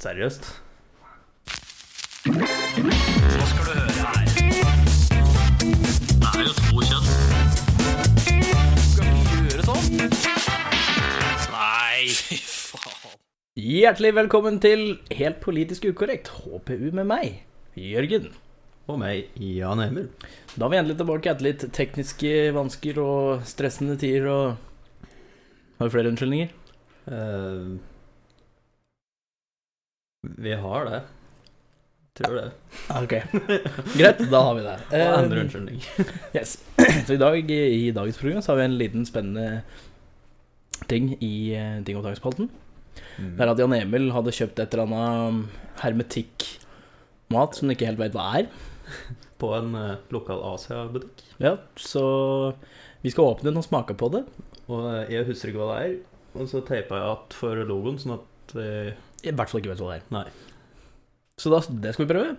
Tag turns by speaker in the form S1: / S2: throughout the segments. S1: Seriøst?
S2: Nå skal du høre her. Det er jo to kjønn. Skal ikke gjøre sånn. Nei, fy faen.
S1: Hjertelig velkommen til Helt politisk ukorrekt, HPU med meg, Jørgen.
S3: Og meg, Jan Emil.
S1: Da er vi endelig tilbake etter litt tekniske vansker og stressende tider og Har vi flere unnskyldninger?
S3: Eh, vi har det. Tror det.
S1: Ok. Greit, da har vi det.
S3: Og
S1: Eh,
S3: andre unnskyldninger.
S1: Yes. Så i, dag, i dagens program så har vi en liten spennende ting i eh, Ting og tang-spalten. Det er at Jan Emil hadde kjøpt et eller annet hermetikkmat som han ikke helt vet hva er.
S3: På en eh, lokal Asia-butikk.
S1: Ja, så vi skal åpne den og smake på det.
S3: Og eh, jeg husker ikke hva det er. Og så teipa jeg att for logoen, sånn at eh,
S1: I hvert fall ikke vet hva det er.
S3: Nei.
S1: Så da, det skal vi prøve.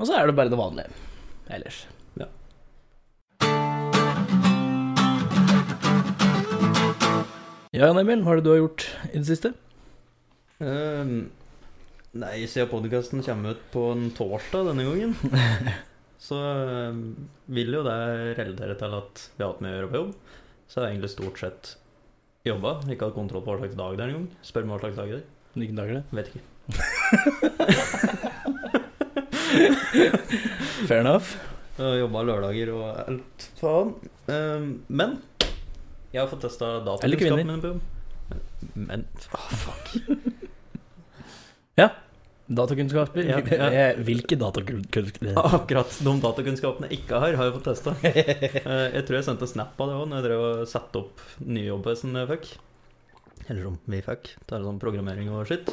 S1: Og så er det bare det vanlige ellers.
S3: Ja.
S1: Ja, Jan Emil, hva er det du har gjort i det siste?
S3: eh, Nei, siden podkasten kommer ut på en torsdag denne gangen, så eh, vil jo det relatere til at vi har hatt med å gjøre på jobb. Så jeg har egentlig stort sett jobba. Ikke hatt kontroll på hva slags dag det er engang. Spør meg hva slags dag det er.
S1: Hvilken dag er det?
S3: Vet ikke.
S1: Fair enough.
S3: Og jobba lørdager og alt faen. Ehm, men jeg har fått testa
S1: Eller kvinner.
S3: datakunnskapen min på jobb. Men ah, fuck.
S1: Datakunnskaper?
S3: Ja, ja.
S1: Eh, Hvilke datakunnskaper?
S3: Akkurat de datakunnskapene jeg ikke har, har jeg fått testa. Eh, jeg tror jeg sendte snap av det òg når jeg drev og satte opp nyjobben som jeg fikk. Eller som vi fikk. Det er sånn programmering og skitt.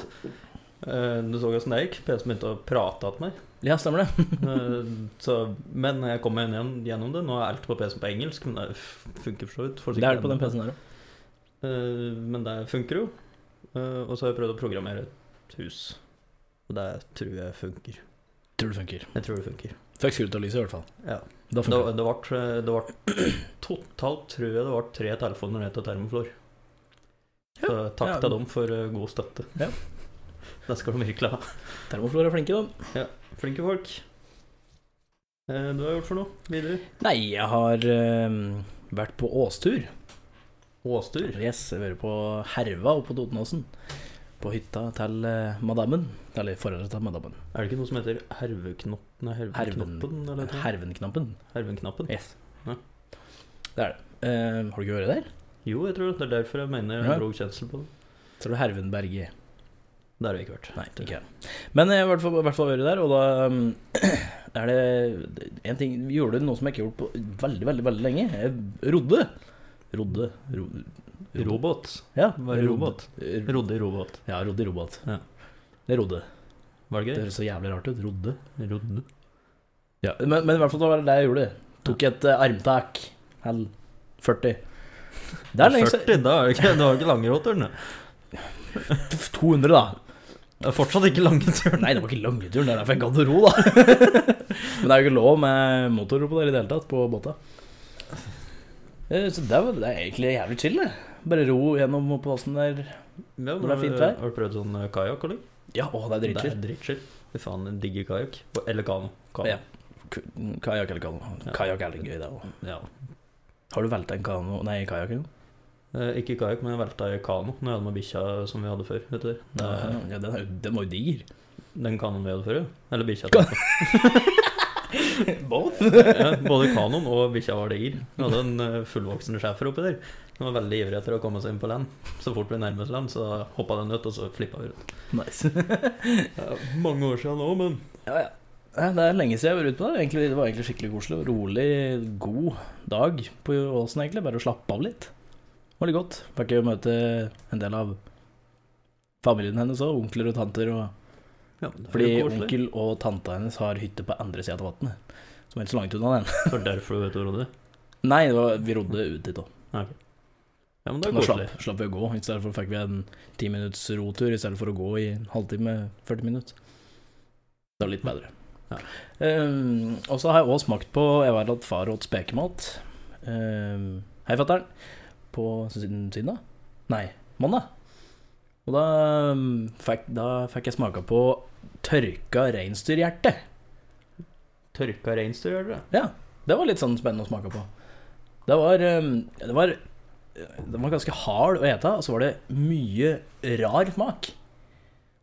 S3: Eh, du så åssen det gikk. PC-en begynte å prate til meg.
S1: Ja, stemmer det.
S3: Eh, Så, men jeg kom meg igjen gjennom det. Nå er alt på PC-en på engelsk, men det funker for så vidt.
S1: Det er det på den PC-en der òg.
S3: Eh, Men det funker jo. Eh, Og så har jeg prøvd å programmere et hus. Og det tror jeg funker.
S1: Tror det funker.
S3: Jeg tror det funker.
S1: Fikk skrudd av lyset i hvert fall.
S3: Ja.
S1: Da
S3: Det,
S1: funker det.
S3: det, ble, det ble totalt, tror jeg, det ble tre telefoner ned til Termoflor. Så takk
S1: Ja.
S3: til dem for eh, god støtte.
S1: Ja.
S3: Det skal de virkelig ha.
S1: Termoflor er flinke, da.
S3: Flinke folk. Eh, Du har gjort for noe videre?
S1: Nei, jeg har eh, vært på åstur.
S3: Åstur.
S1: Yes, jeg har vært på Herva oppe på Totenåsen. På hytta til eh, madammen. Eller forholdet til madammen.
S3: Er det ikke noe som heter herveknoppen?
S1: Herven.
S3: Hervenknoppen? Eller noe?
S1: Hervenknappen.
S3: Hervenknappen?
S1: Yes.
S3: Ja.
S1: Det er det. Eh, har du ikke vært der?
S3: Jo, jeg tror det. Det er derfor jeg mener jeg
S1: Ja.
S3: dro kjensel på det.
S1: Tror du Hervenberget
S3: Det har vi ikke hørt.
S1: Nei, ikke jeg. Men jeg har i hvert fall- i hvert fall vært der, og da um, er det en ting Vi gjorde noe som jeg ikke har gjort på veldig, veldig veldig lenge. Jeg rodde. Rodde. Ro,
S3: Robot.
S1: ja,
S3: Var det robot?
S1: Rod-
S3: Rodde i robot.
S1: Ja, rodde i robot.
S3: Ja.
S1: Det er rodde.
S3: Var det
S1: Det
S3: gøy?
S1: høres så jævlig rart ut. Rodde.
S3: Rodde.
S1: Ja, men, men i hvert fall det var det jeg gjorde. Tok et eh, armtak. Hell 40. Det er lenge
S3: 40,
S1: siden.
S3: da er det ikke, det var ikke lange rotterne.
S1: 200, da.
S3: Det er fortsatt ikke lange turen.
S1: Nei, det var ikke lange turen. Det er derfor jeg gadd å ro, da. men det er jo ikke lov med motor på der i det hele tatt, på båta. Eh, Så det, var, det er egentlig jævlig chill, det. Bare ro gjennom oppvassen der.
S3: Ja,
S1: Når det er fint vær.
S3: Har du prøvd sånn kajakk, eller?
S1: Ja, å, det er
S3: Det
S1: dritchill.
S3: er dritchill. Fy faen, jeg digger kajakk. Og- Eller kano. Kano.
S1: Ja. K- Kajakk eller kano.
S3: Ja.
S1: Kajakk er litt gøy, det òg.
S3: Ja.
S1: Har du velta en kano Nei, kajakk? jo.
S3: Eh, Ikke kajakk, men jeg velta i kano når jeg hadde med bikkja som vi hadde før. Vet du. det? Det er
S1: Ja, den, er jo- den var jo diger.
S3: Den kanoen vi hadde før, ja. Eller bikkja.
S1: Both?
S3: ja, både kanoen og bikkja var diger. Vi hadde en eh, fullvoksen schæfer oppi der. Den var veldig ivrig etter å komme seg inn på land. Så fort vi nærmet oss land, så hoppa den ut, og så flippa vi rundt.
S1: Nice.
S3: mange år siden nå, men
S1: Ja, ja. Nei, Det er lenge siden jeg har vært ute på det. Egentlig, det var egentlig skikkelig koselig. og Rolig, god dag på Åsen, egentlig. Bare å slappe av litt. Det var litt godt. Fikk jo møte en del av familien hennes òg. Onkler og tanter. Og...
S3: ja, men det er
S1: Fordi
S3: jo koselig.
S1: onkel og tanta hennes har hytte på andre sida av vannet. Som er ikke så langt unna den.
S3: Så derfor du vet hvor det er?
S1: Nei, det var, vi rodde ut dit òg.
S3: Ja, men det er
S1: Da
S3: koselig.
S1: slapp, slapp vi å gå. I stedet for fikk vi en ti minutts rotur i stedet for å gå i en halvtime, 40 minutter. Det var litt
S3: Mm.
S1: bedre.
S3: Ja.
S1: Um, og så har jeg òg smakt på Jeg var at far åt spekemat. Ehm, Um, hei, fatter'n. På siden, siden da? Nei, mandag. Og da mm, fikk, da fikk jeg smaka på tørka reinsdyrhjerte.
S3: Tørka reinsdyr, gjør dere?
S1: Ja, det var litt sånn spennende å smake på. Det var, eh, det var, det var ganske hard å ete, og så var det mye rar smak.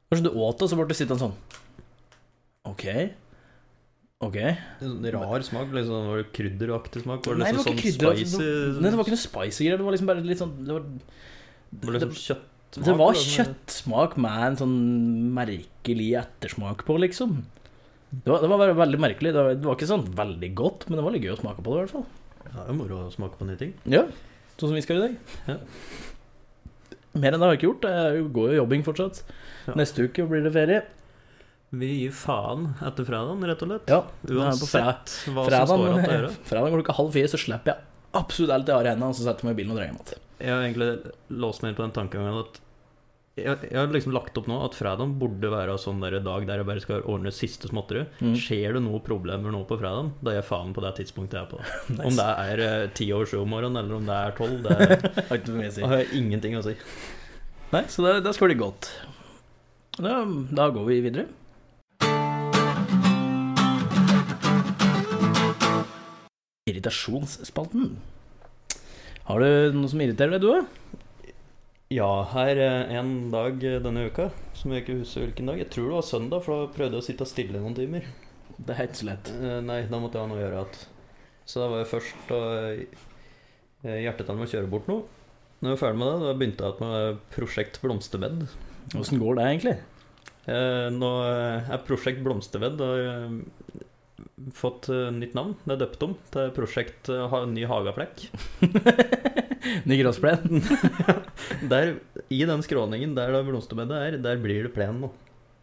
S1: Kanskje du åt det, og så ble du sittende sånn. Ok. Ok.
S3: Det er sånn rar smak, litt sånn var det krydderaktig smak? Var det
S1: Nei,
S3: liksom
S1: det var
S3: sånn
S1: ikke
S3: spicy
S1: krydder. altså. Nei, det var ikke noe spicy greier. Det var liksom bare litt sånn Det var,
S3: Var det
S1: det,
S3: liksom kjøttsmak?
S1: det var
S3: eller sånn?
S1: kjøttsmak med en sånn merkelig ettersmak på, liksom. Det var, det var bare veldig merkelig. Det var, det var ikke sånn veldig godt, men det var litt gøy å smake på det, i hvert fall.
S3: Ja, Det er jo moro å smake på nye ting.
S1: Ja, sånn som vi skal i dag.
S3: Ja.
S1: Mer enn det har jeg ikke gjort. Jeg går jo jobbing fortsatt.
S3: Ja.
S1: Neste uke blir det ferie.
S3: Vi gir faen etter fredagen, rett og slett.
S1: Ja, det er på fre-
S3: Uansett hva som står igjen å
S1: fredagen,
S3: gjøre.
S1: fredagen klokka halv fire så slipper jeg absolutt alt jeg har i hendene, og så setter jeg meg i bilen og drar hjem igjen.
S3: Jeg har egentlig låst meg inn på den tankegangen at jeg, jeg har liksom lagt opp nå at fredagen burde være en sånn der dag der jeg bare skal ordne siste småtteri.
S1: Mm.
S3: Skjer det noen problemer nå på fredagen, da gir jeg faen på det tidspunktet jeg er på.
S1: Nice.
S3: Om det er eh, ti over sju om morgenen, eller om det er tolv, det
S1: Jeg Har ikke så mye å si.
S3: har jeg ingenting å si.
S1: Nei, så det, det skal bli godt. Da, da går vi videre. Irritasjonsspalten. Har du noe som irriterer deg, du òg?
S3: Ja, her eh, en dag eh, denne uka, som jeg ikke husker hvilken dag. Jeg tror det var søndag, for da prøvde jeg å sitte stille noen timer.
S1: Det er ikke så lett.
S3: Eh, Nei, da måtte jeg ha noe å gjøre at. Så da var jeg først og eh, hjertet til meg å kjøre bort noe. Når jeg var ferdig med det, da begynte jeg med Prosjekt Blomsterbed.
S1: Åssen går det egentlig?
S3: Eh, Nå eh, er Prosjekt Blomsterbed har eh, fått eh, nytt navn. Det er døpt om til Prosjekt eh, ha- Ny hageflekk.
S1: Ny gressplen?
S3: Der, I den skråningen der det blomsterbedet er, der blir det plen nå.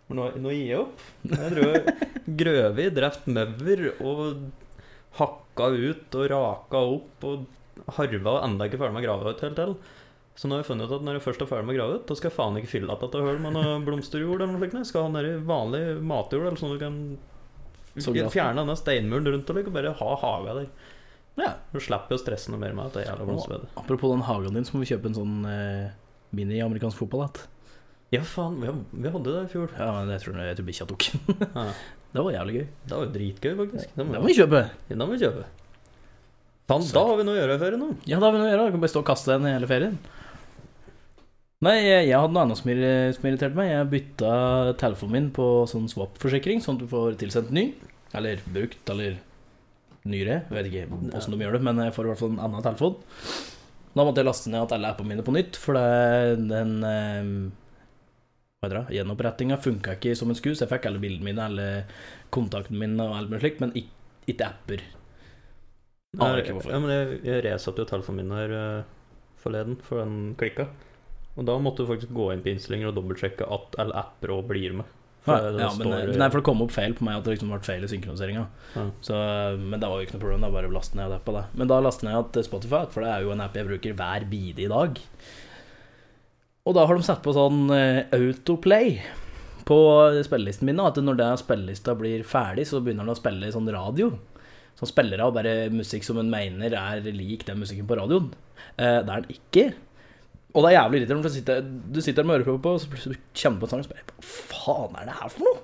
S3: For Nå, nå gir jeg opp. Jeg tror Grøvi drept maur og hakka ut og raka opp og harva og enda ikke ferdig med å grave ut helt til. Så nå har jeg funnet ut at når jeg først er ferdig med å grave ut, da skal jeg faen ikke fylle att dette hullet med noe blomsterjord eller noe slikt. Jeg skal ha nedi vanlig matjord eller sånn du kan
S1: Så greit.
S3: fjerne denne steinmuren rundt og like, og bare ha haga der.
S1: Ja.
S3: Du slipper jo å stresse noe mer med dette jævla blomsterbedet.
S1: Apropos den hagen din, så må vi kjøpe en sånn eh, mini-amerikansk fotballhatt.
S3: Ja, faen, vi, vi hadde det i fjor.
S1: Ja, men jeg tror, jeg tror bikkja tok den.
S3: Ja.
S1: Det var jævlig gøy.
S3: Det var jo dritgøy, faktisk. Det
S1: Det
S3: må,
S1: må vi kjøpe.
S3: det må vi kjøpe. Faen, da har vi noe å gjøre i ferien nå.
S1: Ja, da har vi noe å gjøre. Vi kan bare stå og kaste den i hele ferien. Nei, jeg, jeg hadde noe annet som irri- som irriterte meg. Jeg bytta telefonen min på sånn swap-forsikring, sånn at du får tilsendt ny. Eller brukt, eller nyere. Jeg vet ikke åssen de gjør det, men jeg får i hvert fall en annen telefon. Da måtte jeg laste ned at alle appene mine på nytt, for det, den eh, Hva heter det? Gjenopprettinga funka ikke som en sku, så jeg fikk alle bildene mine, alle kontaktene mine og alt mulig slikt, men ikke, ikke apper. Aner ikke hvorfor.
S3: Ja, men jeg, jeg resatte jo telefonen min her eh, forleden, for den klikka. Og da måtte du faktisk gå inn på innstillinger og dobbeltsjekke at alle apper òg blir med. For
S1: Ja,
S3: det
S1: ja, men, eh,
S3: står-
S1: nei, for det kom opp feil på meg at det liksom ble feil i synkroniseringa.
S3: Ja.
S1: Så, eh, Men det var jo ikke noe problem, det var bare å laste ned appa. Det. Men da lastet jeg ned at Spotify, for det er jo en app jeg bruker hver bide i dag. Og da har de satt på sånn eh, autoplay på spillelisten min, da, at når den spillelista blir ferdig, så begynner den å spille sånn radio. Sånn spillere og bare musikk som en mener er lik den musikken på radioen. Eh, det er den ikke. Og det er jævlig irriterende, for du sitter, du sitter med ørepropper på, og så plutselig kjenner du på en sang og spør Hva faen er det her for noe?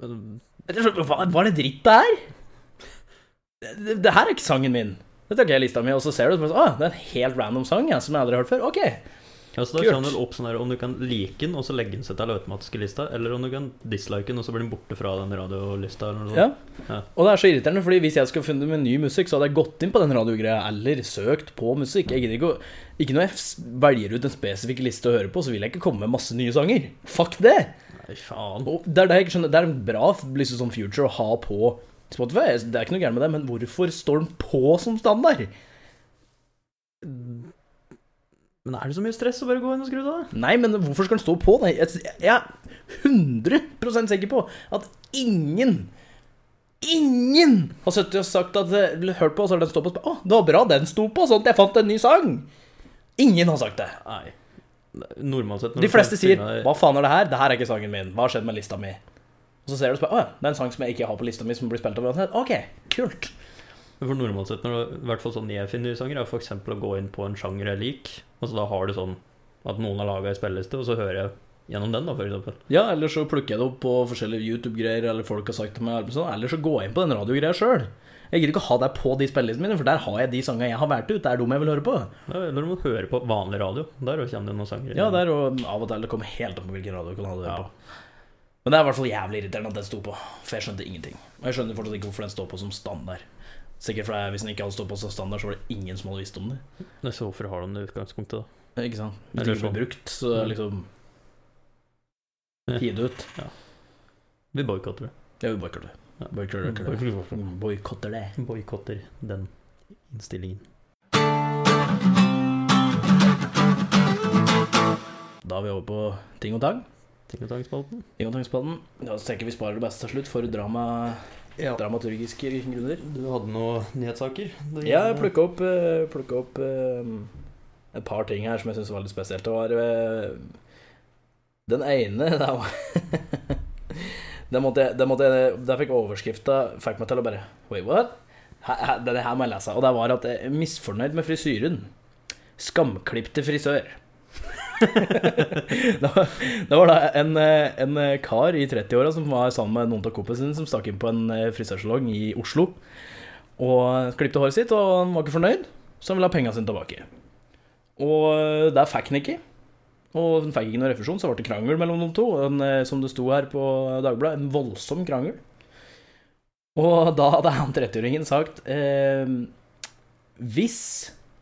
S3: Men-
S1: Rett og slett, Hva hva er det dritt det er? Det, det her er ikke sangen min. Dette har ikke jeg i lista mi, og så ser du det, ah, det er en helt random sang jeg, som jeg aldri har hørt før. Ok.
S3: Ja, så da
S1: Kult.
S3: kommer det opp sånn her om du kan like den, og så legge den seg til den automatiske lista, eller om du kan dislike den, og så blir den borte fra den radiolista, eller noe sånt.
S1: Ja.
S3: Ja.
S1: Og det er så irriterende, fordi hvis jeg skulle funnet med ny musikk, så hadde jeg gått inn på den radiogreia, eller søkt på musikk. Jeg gidder ikke å Ikke når jeg s- velger ut en spesifikk liste å høre på, så vil jeg ikke komme med masse nye sanger. Fuck det!
S3: Nei, faen.
S1: Og det er det jeg ikke skjønner. Det er en bra liksom, sånn future å ha på Spotify. Det er ikke noe gærent med det, men hvorfor står den på som standard?
S3: Men er det så mye stress å bare gå inn og skru det av?
S1: Nei, men hvorfor skal den stå på? Nei, jeg jeg er 100 sikker på at ingen Ingen har sittet og sagt at eh, eller hørt på, og så har den stått på. og spurt, Å, det var bra den sto på, sånn at jeg fant en ny sang. Ingen har sagt det.
S3: Nei. Normalt sett når
S1: De
S3: du
S1: fleste
S3: finner
S1: sier
S3: deg-
S1: 'Hva faen er det her? Det her er ikke sangen min. Hva har skjedd med lista mi?' Og så ser du og spør 'Å ja, det er en sang som jeg ikke har på lista mi, som blir spilt av hverandre.' Ok, kult.
S3: For normalt sett, når du, i hvert fall sånn jeg finner nye sanger, er for eksempel å gå inn på en sjanger jeg liker, og så Altså, da har du sånn At noen har laga ei spilleliste, og så hører jeg gjennom den, da, for eksempel.
S1: Ja, eller så plukker jeg det opp på forskjellige YouTube-greier, eller folk har sagt til meg, eller sånn, eller så går jeg inn på den radiogreia sjøl. Jeg gidder ikke å ha deg på de spillelistene mine, for der har jeg de sangene jeg har valgt ut. Det er dem jeg vil høre på.
S3: Ja, Eller du må høre på vanlig radio. Der også kommer det noen sanger.
S1: Ja, der og av og til. Det kommer helt an på hvilken radiokanal du hører på. Men det er i hvert fall jævlig irriterende at den sto på, for jeg skjønte ingenting. Og jeg skjønner fortsatt ikke hvorfor den står på som standard. Sikkert fordi hvis den ikke hadde stått på som standard, så var det ingen som hadde visst om det.
S3: Nei, Så hvorfor har de det i utgangspunktet, da?
S1: Ikke sant? Hvis
S3: Eller
S1: det ikke
S3: sånn.
S1: blir brukt, så er det liksom
S3: Ja.
S1: Gi det ut.
S3: Vi boikotter det.
S1: Ja, Mm, vi boikotter det.
S3: Ja.
S1: Boikotter det. Boikotter det.
S3: Boikotter den innstillingen.
S1: Da er vi over på ting og tang.
S3: Ting og tang-spalten.
S1: Ting og tang-spalten. Da tenker vi sparer det beste til slutt for drama,
S3: Ja.
S1: dramaturgiske grunner.
S3: Du hadde noen nyhetssaker? Du-
S1: Ja, jeg plukka opp, eh, plukket opp eh, et par ting her som jeg syns var litt spesielt. Det var eh, Den ene det var det måtte, jeg- det måtte jeg Der fikk overskrifta Fikk meg til å bare Wait, what? Her, her, denne her må jeg lese. Og det var at jeg er misfornøyd med frisyren. Skamklipte frisør. det, var, det var da en, eh, en eh, kar i 30-åra som var sammen med noen av kompisene sine, som stakk inn på en eh, frisørsalong i Oslo. Og klippte håret sitt, og han var ikke fornøyd, så han ville ha pengene sine tilbake. Og eh, der fikk han ikke. Og han fikk ikke noen refusjon, så det ble krangel mellom de to. En, eh, som det sto her på Dagbladet, en voldsom krangel. Og da hadde han 30-åringen sagt eh, Hvis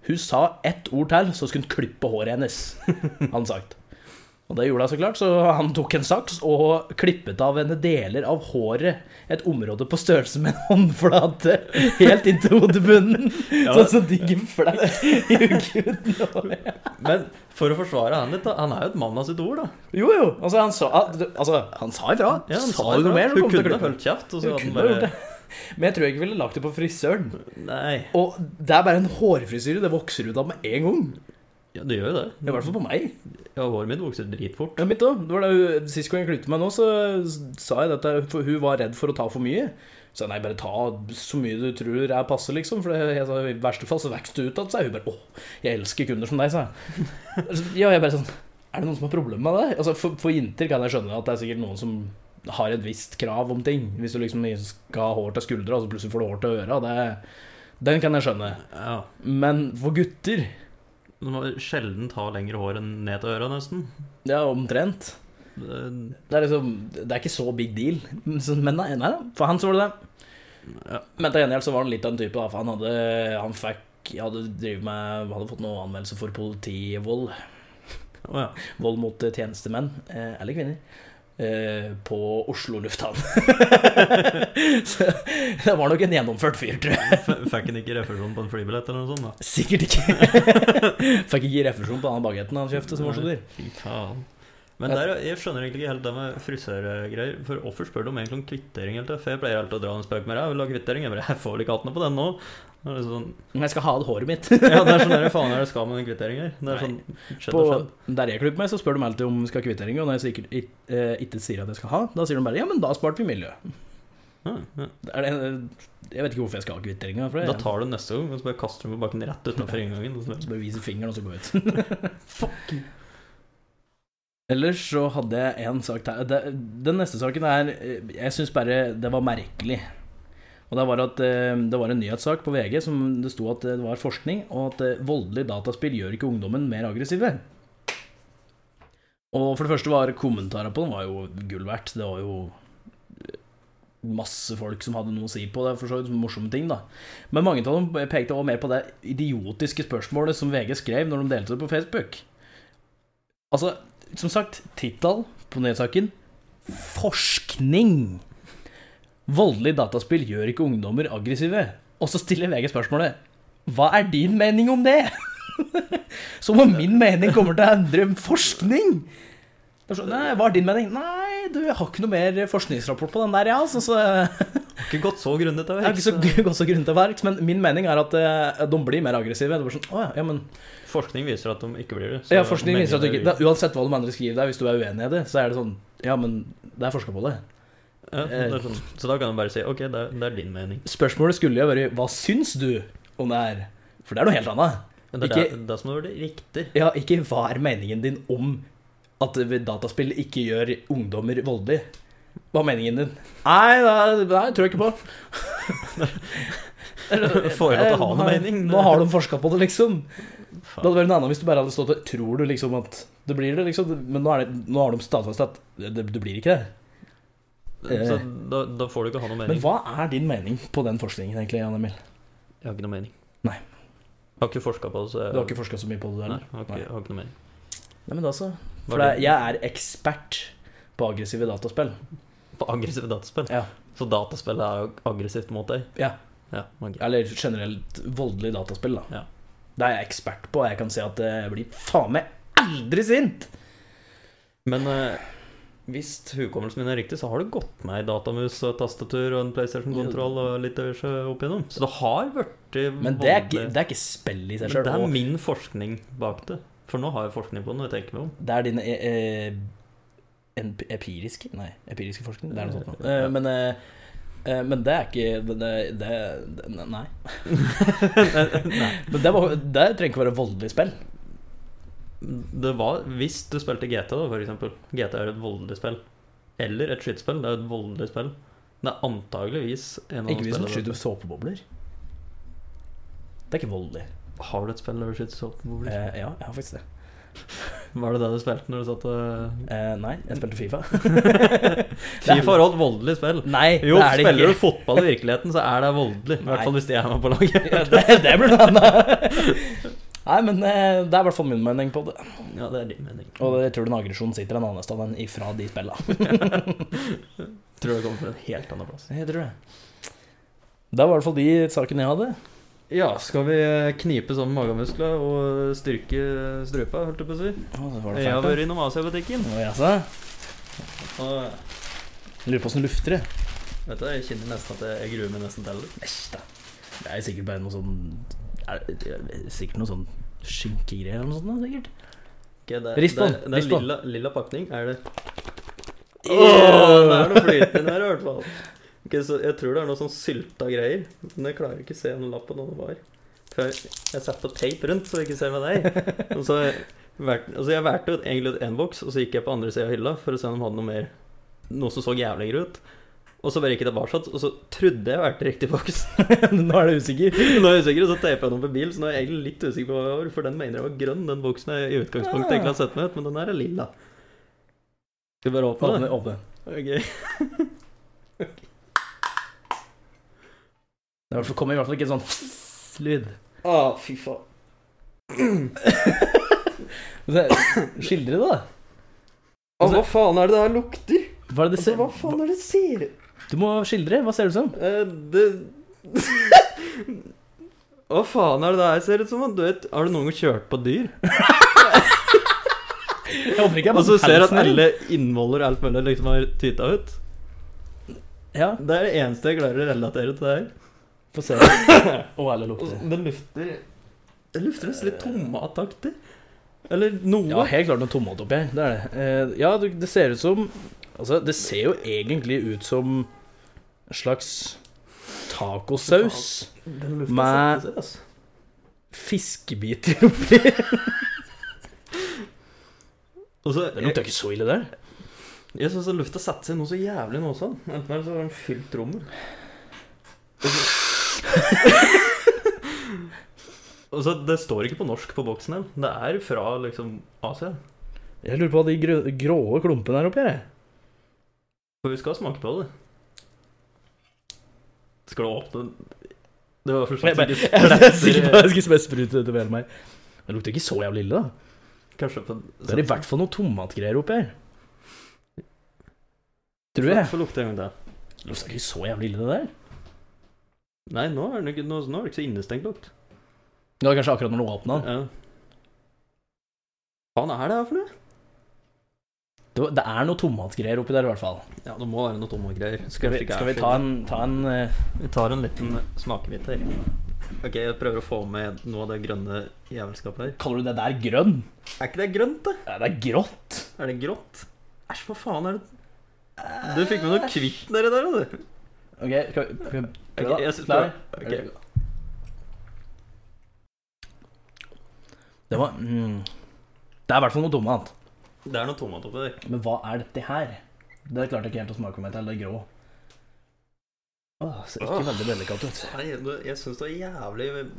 S1: hun sa ett ord til, så skulle han klippe håret hennes, hadde han sagt. Og det gjorde han så klart, så han tok en saks og klippet av henne deler av håret. Et område på størrelse med en håndflate, helt inntil hodebunnen. Sånn som digger flekk i huden. og-
S3: Men for å forsvare han litt, da. Han er jo et mann av sitt ord, da.
S1: Jo, jo. Altså, han sa, altså, han sa ifra.
S3: Ja, han
S1: sa
S3: sa
S1: du
S3: det.
S1: noe mer, så
S3: Hun
S1: kom det
S3: kunne
S1: til å klippe.
S3: holdt kjeft, og så hadde
S1: Hun
S3: han
S1: kunne ha gjort
S3: bare
S1: det. Men jeg tror jeg ikke ville lagt det på frisøren.
S3: Nei.
S1: Og det er bare en hårfrisyre. Det vokser ut av med en gang.
S3: Ja, det gjør jo det.
S1: I hvert fall på meg.
S3: Ja, håret mitt vokser dritfort.
S1: Ja, mitt også. Det var da hun, Sist gang jeg klippet meg nå, så sa jeg dette, for hun var redd for å ta for mye. Så jeg, nei, bare ta så mye du tror er passe, liksom. For det- jeg sa, i verste fall så vokser det ut igjen. Så hun bare 'Å, jeg elsker kunder som deg', sa jeg. Så- Ja, jeg bare sånn Er det noen som har problemer med det? Altså, for, for jenter kan jeg skjønne at det er sikkert noen som har et visst krav om ting. Hvis du liksom skal ha hår til skuldra, og så plutselig får du hår til øra. Det, den kan jeg skjønne.
S3: Ja.
S1: Men for gutter
S3: De må sjelden ta lengre hår enn ned til øra, nesten.
S1: Ja, omtrent.
S3: Det-
S1: Det er liksom Det er ikke så big deal. Så- Men nei, nei da, for han så var det det.
S3: Ja.
S1: Men til gjengjeld så var han litt av en type, da, for han hadde Han fikk hadde, drevet med, hadde fått noen anmeldelse for politivold.
S3: Å ja.
S1: Vold mot eh, tjenestemenn, eh, eller kvinner, eh, på Oslo lufthavn. så det var nok en gjennomført fyr, tror jeg.
S3: F- Fikk han ikke refusjon på en flybillett eller noe sånt, da?
S1: Sikkert ikke. Fikk ikke refusjon på den bagetten han kjøpte, som var så dyr.
S3: Fy faen. Men der, jeg skjønner egentlig ikke helt det med frisørgreier. For hvorfor spør de egentlig om kvittering? Helt, for jeg pleier alltid å dra en spøk med deg. Jeg vil ha kvittering. Jeg bare, jeg får ikke hattene på den nå. Det er litt sånn,
S1: Men jeg skal ha det håret mitt.
S3: ja, det er sånn der, faen er det skal med den kvitteringen her? Det er sånn, skjedd
S1: På,
S3: og skjedd.
S1: der jeg klipper meg, så spør de alltid om skal ha kvittering. Og når jeg sikkert i- eh, ikke sier at jeg skal ha, da sier de bare ja, men da sparte vi miljø.
S3: Ja, ja.
S1: Det er det- Jeg vet ikke hvorfor jeg skal ha kvitteringa. For
S3: Da
S1: jeg
S3: tar du neste gang, og så bare kaster du den på bakken rett utenfor inngangen. Og
S1: så
S3: så.
S1: bare viser fingeren, og så går jeg ut. Ellers så hadde jeg en sak til. Det- Den neste saken er eh, Jeg syns bare det var merkelig. Og Det var at eh, det var en nyhetssak på VG som det sto at eh, det var forskning, og at eh, voldelige dataspill gjør ikke ungdommen mer aggressive. Og for det første var kommentarer på den var jo gull verdt. Det var jo masse folk som hadde noe å si på det, for så vidt morsomme ting, da. Men mange av dem pekte også mer på det idiotiske spørsmålet som VG skrev når de delte det på Facebook. Altså, som sagt, tittel på nyhetssaken Forskning! Voldelige dataspill gjør ikke ungdommer aggressive. Og så stiller VG spørsmålet Hva er din mening om det? Som om min mening kommer til å endre forskning! Det er sånn, Nei, hva er din mening? Nei, du, jeg har ikke noe mer forskningsrapport på den der, ja. Så, så
S3: Ikke gått så grundig til
S1: jeg har ikke så
S3: verks.
S1: g- gått så grundig til verks, men min mening er at eh, de blir mer aggressive. Det er bare sånn, «Å ja, ja, men,
S3: Forskning viser at de ikke blir det. så
S1: ja, forskning
S3: meningen
S1: viser at du
S3: er
S1: ikke,
S3: jo-
S1: det, er Uansett hva de andre skriver der, hvis du er uenig i det, så er det sånn Ja, men det er forska på det.
S3: Ja,
S1: Eh.
S3: det er sånn. Så da kan du bare si OK, det er, det er din mening.
S1: Spørsmålet skulle jo vært Hva syns du om det her? For det er noe helt annet.
S3: Men det er
S1: Ikke-
S3: det, det som er det riktig.
S1: Ja, ikke hva er meningen din om at dataspill ikke gjør ungdommer voldelige? Hva er meningen din? Nei, det, det tror jeg ikke på.
S3: Får jeg lov til å ha noe
S1: Nei,
S3: mening?
S1: Nå har de forska på det, liksom. Det
S3: Faen.
S1: hadde vært noe annet hvis du bare hadde stått og Tror du liksom at det blir det, liksom? Men nå, er det, nå har de stadfestet at det, det blir ikke det.
S3: Så da, da får du ikke ha noe
S1: Eh. Men
S3: mening.
S1: hva er din mening på den forskningen, egentlig, Jan Emil?
S3: Jeg har ikke noe mening.
S1: Nei.
S3: Jeg har ikke forska på det, så jeg
S1: Du har ikke forska så mye på det, du
S3: Nei,
S1: heller?
S3: jeg har ikke,
S1: Nei.
S3: jeg har ikke noe mening.
S1: Nei, men da så. For
S3: Var
S1: det,
S3: det-
S1: jeg er ekspert på aggressive dataspill.
S3: På aggressive dataspill?
S1: Ja.
S3: Så dataspill er jo aggressivt mot deg?
S1: Ja.
S3: Ja, ok.
S1: Eller generelt voldelig dataspill, da.
S3: Ja.
S1: Det er jeg ekspert på, og jeg kan si at jeg blir faen meg aldri sint!
S3: Men eh, hvis hukommelsen min er riktig, så har du gått med ei datamus og tastatur og en PlayStation-kontroll og litt diverse opp igjennom. Så det har blitt
S1: Men det er ikke, det er ikke spill i seg
S3: Men
S1: sjøl.
S3: det er
S1: og
S3: min forskning bak det. For nå har jeg forskning på det, når jeg tenker meg om.
S1: Det er din eh, eh, en- empiriske Nei, empiriske forskning. Det er noe sånt.
S3: Ja.
S1: Eh, men, eh, eh, men det er ikke det, det- det, det Nei. men det, var, det trenger ikke være voldelig spill.
S3: Det var, hvis du spilte GT, da, for eksempel. GT er et voldelig spill. Eller et skytespill. Det er et voldelig spill. Det er antageligvis en av
S1: Ikke hvis du
S3: spillene-
S1: skyter såpebobler. Det er ikke voldelig.
S3: Har du et spill der du skyter
S1: Eh,
S3: såpebobler?
S1: ja, jeg har faktisk det.
S3: Var det det du spilte når du satt og
S1: Eh, nei, jeg spilte Fifa.
S3: Fifa har hatt voldelig spill.
S1: Nei,
S3: Jo,
S1: det er det
S3: spiller
S1: ikke.
S3: du fotball i virkeligheten, så er det voldelig. I
S1: Nei.
S3: hvert fall hvis de er med på laget.
S1: Ja, det, det blir noe annet. Nei, men eh, det er i hvert fall min mening på det.
S3: Ja, det er din mening.
S1: Og jeg tror den aggresjonen sitter en annen sted enn ifra de spilla.
S3: Tror det kommer fra en helt annen plass.
S1: Jeg tror det. Det var i hvert fall de sakene jeg hadde.
S3: Ja, skal vi eh, knipe sammen magemuskler og eh, styrke strupa, holdt jeg på å si?
S1: Å, det var det
S3: Jeg har
S1: fælt,
S3: vært innom Asia-butikken.
S1: da. Å, jaså?
S3: Og eh,
S1: Lurer på åssen lufter det.
S3: vet du, jeg kjenner nesten at jeg, jeg gruer meg nesten til det.
S1: Æsj, da. Det er sikkert bare noe sånn er, det- er det Sikkert noe sånn skinkegreier eller noe sånt. da, sikkert
S3: Ok, det,
S1: Rist på den,
S3: Det, det er
S1: rist på den.
S3: lilla, lilla pakning, er det?
S1: Åh!
S3: Åh, det er noe flytende her i hvert fall. Ok, så jeg tror det er noe sånn sylta greier. Men jeg klarer ikke å se den lappen hva det var. For jeg, jeg satte på tape rundt, så jeg ikke ser med deg. Og så valgte- altså jeg valgte ut egentlig ut en boks, og så gikk jeg på andre sida av hylla for å se om de hadde noe mer Noe som så jævligere ut. Og så bare gikk jeg tilbake, og så trodde jeg valgte riktig boks.
S1: Nå er du usikker.
S3: Nå er jeg usikker, og så teipa jeg den på bil, så nå er jeg egentlig litt usikker på hva det var. For den mener jeg var grønn, den boksen jeg i utgangspunktet egentlig har sett meg ut, men den her er lilla. Skal vi bare åpne den?
S1: Åpne, åpne.
S3: Ok.
S1: Det er i hvert fall- kommer i hvert fall ikke en sånn lyd.
S3: Å, fy faen.
S1: Men det- Skildre det, da.
S3: Å, hva faen er det det her lukter?
S1: Hva er det det
S3: Altså,
S1: ser
S3: hva faen er det det ser ut
S1: Du må skildre. Hva ser det ut som?
S3: Eh, Det Hva faen er det det her ser ut som? Du vet, har du noen gang kjørt på dyr?
S1: Jeg håper ikke jeg
S3: Og så ser du at
S1: pelsen din.
S3: alle innvoller og alt mulig liksom har tyta ut?
S1: Ja,
S3: Det er det eneste jeg klarer å relatere til det her.
S1: få se. Å, alle
S3: Og
S1: lukter.
S3: det lufter Det lufter nesten litt tomataktig. Eller noe.
S1: Ja, helt klart noe tomat oppi her. Det er det. Eh, Ja, du- det ser ut som Altså, det ser jo egentlig ut som en slags tacosaus.
S3: Den lufta
S1: Men-
S3: setter seg, altså.
S1: Fiskebiter oppi. Det
S3: Og så,
S1: lukter
S3: jeg
S1: ikke så ille, det.
S3: jeg syns lufta setter seg noe så jævlig nå også. Enten er det så har den fylt rommet. Og så- Og så, Det står ikke på norsk på boksen her. Det er fra liksom Asia.
S1: Jeg lurer på hva de grø grå klumpene er oppi her. jeg.
S3: For vi skal smake på det. Skal du åpne Det var for så
S1: Jeg,
S3: vidt
S1: bare,
S3: ikke
S1: jeg, er sikker på
S3: spretter-
S1: at jeg skulle sprute utover hele meg. Det lukter ikke så jævlig ille, da.
S3: Kanskje på
S1: Det er i hvert fall noe tomatgreier oppi her. Tror jeg.
S3: Få lukte en gang til.
S1: Det lukter ikke så jævlig ille, det der.
S3: Nei, nå er det ikke, nå, nå er det ikke så innestengt lukt.
S1: Det var kanskje akkurat når du åpna den.
S3: Ja. Hva faen er det her for noe?
S1: Det var- Det er noe tomatgreier oppi der, i hvert fall.
S3: Ja, det må være noe tomme greier.
S1: Skal vi, skal vi ta en, ta en eh,
S3: Vi tar en liten smakebit her. Ok, jeg prøver å få med noe av det grønne jævelskapet her.
S1: Kaller du det der grønn?
S3: Er ikke det grønt, da?
S1: Ja, det er grått.
S3: Er det grått? Æsj, hva faen er det Du fikk med noe kvitt nedi der, du.
S1: OK, skal vi skal vi prøve,
S3: Ok,
S1: da?
S3: jeg synes-
S1: Klar?
S3: Ok.
S1: Det var mm, Det er i hvert fall noe tomat.
S3: Det er noe tomat oppi der.
S1: Men hva er dette her? Det klarte jeg ikke helt å smake meg til. Det er grå. Åh, ser ikke
S3: Åh.
S1: veldig vellykkende ut.
S3: Nei, det- jeg syns det er jævlig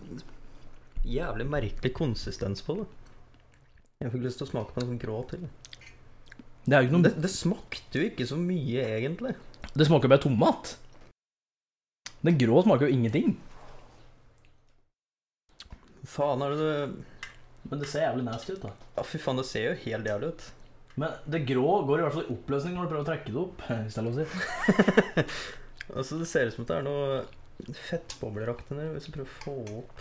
S3: Jævlig merkelig konsistens på det. Jeg fikk lyst til å smake på en sånn grå til.
S1: Det er jo ikke
S3: Det,
S1: noe
S3: det smakte jo ikke så mye, egentlig.
S1: Det smaker jo bare tomat. Den grå smaker jo ingenting.
S3: Faen, er det det
S1: Men det ser jævlig nasty ut, da.
S3: Ja, fy faen, det ser jo helt jævlig ut.
S1: Men det grå går i hvert fall i oppløsning når du prøver å trekke det opp. Hvis det er lov å si.
S3: Altså, det ser ut som at det er noe fettbobleraktig nedi, hvis du prøver å få opp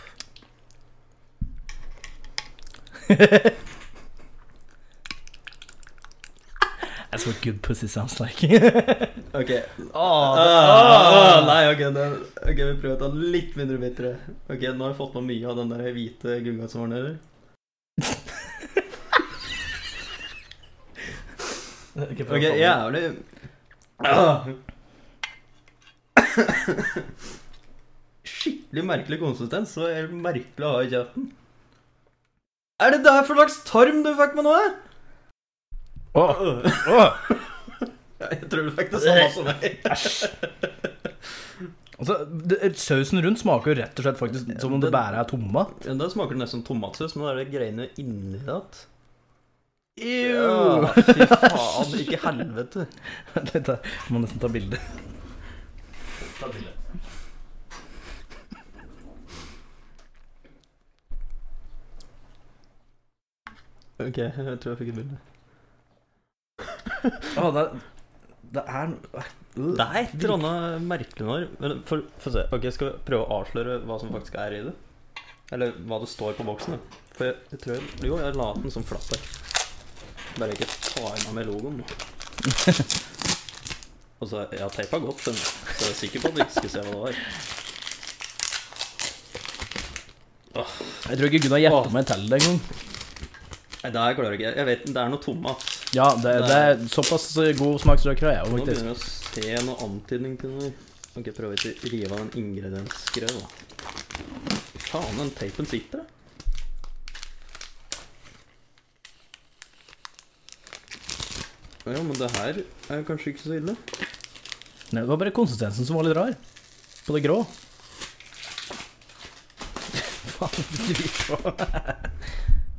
S1: That's what good pussy sounds like.
S3: OK.
S1: Åh,
S3: Ah, nei, ok, det, ok, vi prøver å ta den litt mindre bitre. Ok, Nå har jeg fått med mye av den der hvite gugga som var nedi. Ok, jævlig ah. Skikkelig merkelig konsistens. Så helt merkelig å ha i kjeften. Er det der for slags tarm du fikk med nå? eh? Ja, Jeg tror du fikk det samme som meg.
S1: Altså, det, sausen rundt smaker jo rett og slett faktisk som om det bare er tomat.
S3: Ja, Da smaker det nesten tomatsaus, men da er det greiene inni det igjen.
S1: Ew.
S3: fy faen. Ikke helvete.
S1: Dette må nesten ta bilde. Ta bilde.
S3: Ok, jeg tror jeg fikk et bilde.
S1: Å, det, er- det er
S3: Det er et eller annet merkelig når men for- Få se. Ok, Skal vi prøve å avsløre hva som faktisk er i det? Eller hva det står på boksen? da. For jeg, jeg tror jeg, Jo, jeg la den som flatt der. Bare ikke ta i meg med logoen. Og så, Jeg har teipa godt, den, så jeg er sikker på at du ikke skal se hva det var.
S1: Jeg tror ikke Gunnar
S3: Åh.
S1: gjetta meg til det engang.
S3: Nei, det her klarer jeg ikke. Jeg vet, Det er noe tomat.
S1: Ja, det, det er såpass eh, god smaksløker har jeg jo
S3: Nå
S1: faktisk.
S3: begynner jeg å se noe antydning til noe. Ok, prøver ikke å rive av den ingrediensgreia, da. Faen, den teipen sitter, da. Ja, men det her er kanskje ikke så ille.
S1: Nei, Det var bare konsistensen som var litt rar. På det grå. Faen, dritbra.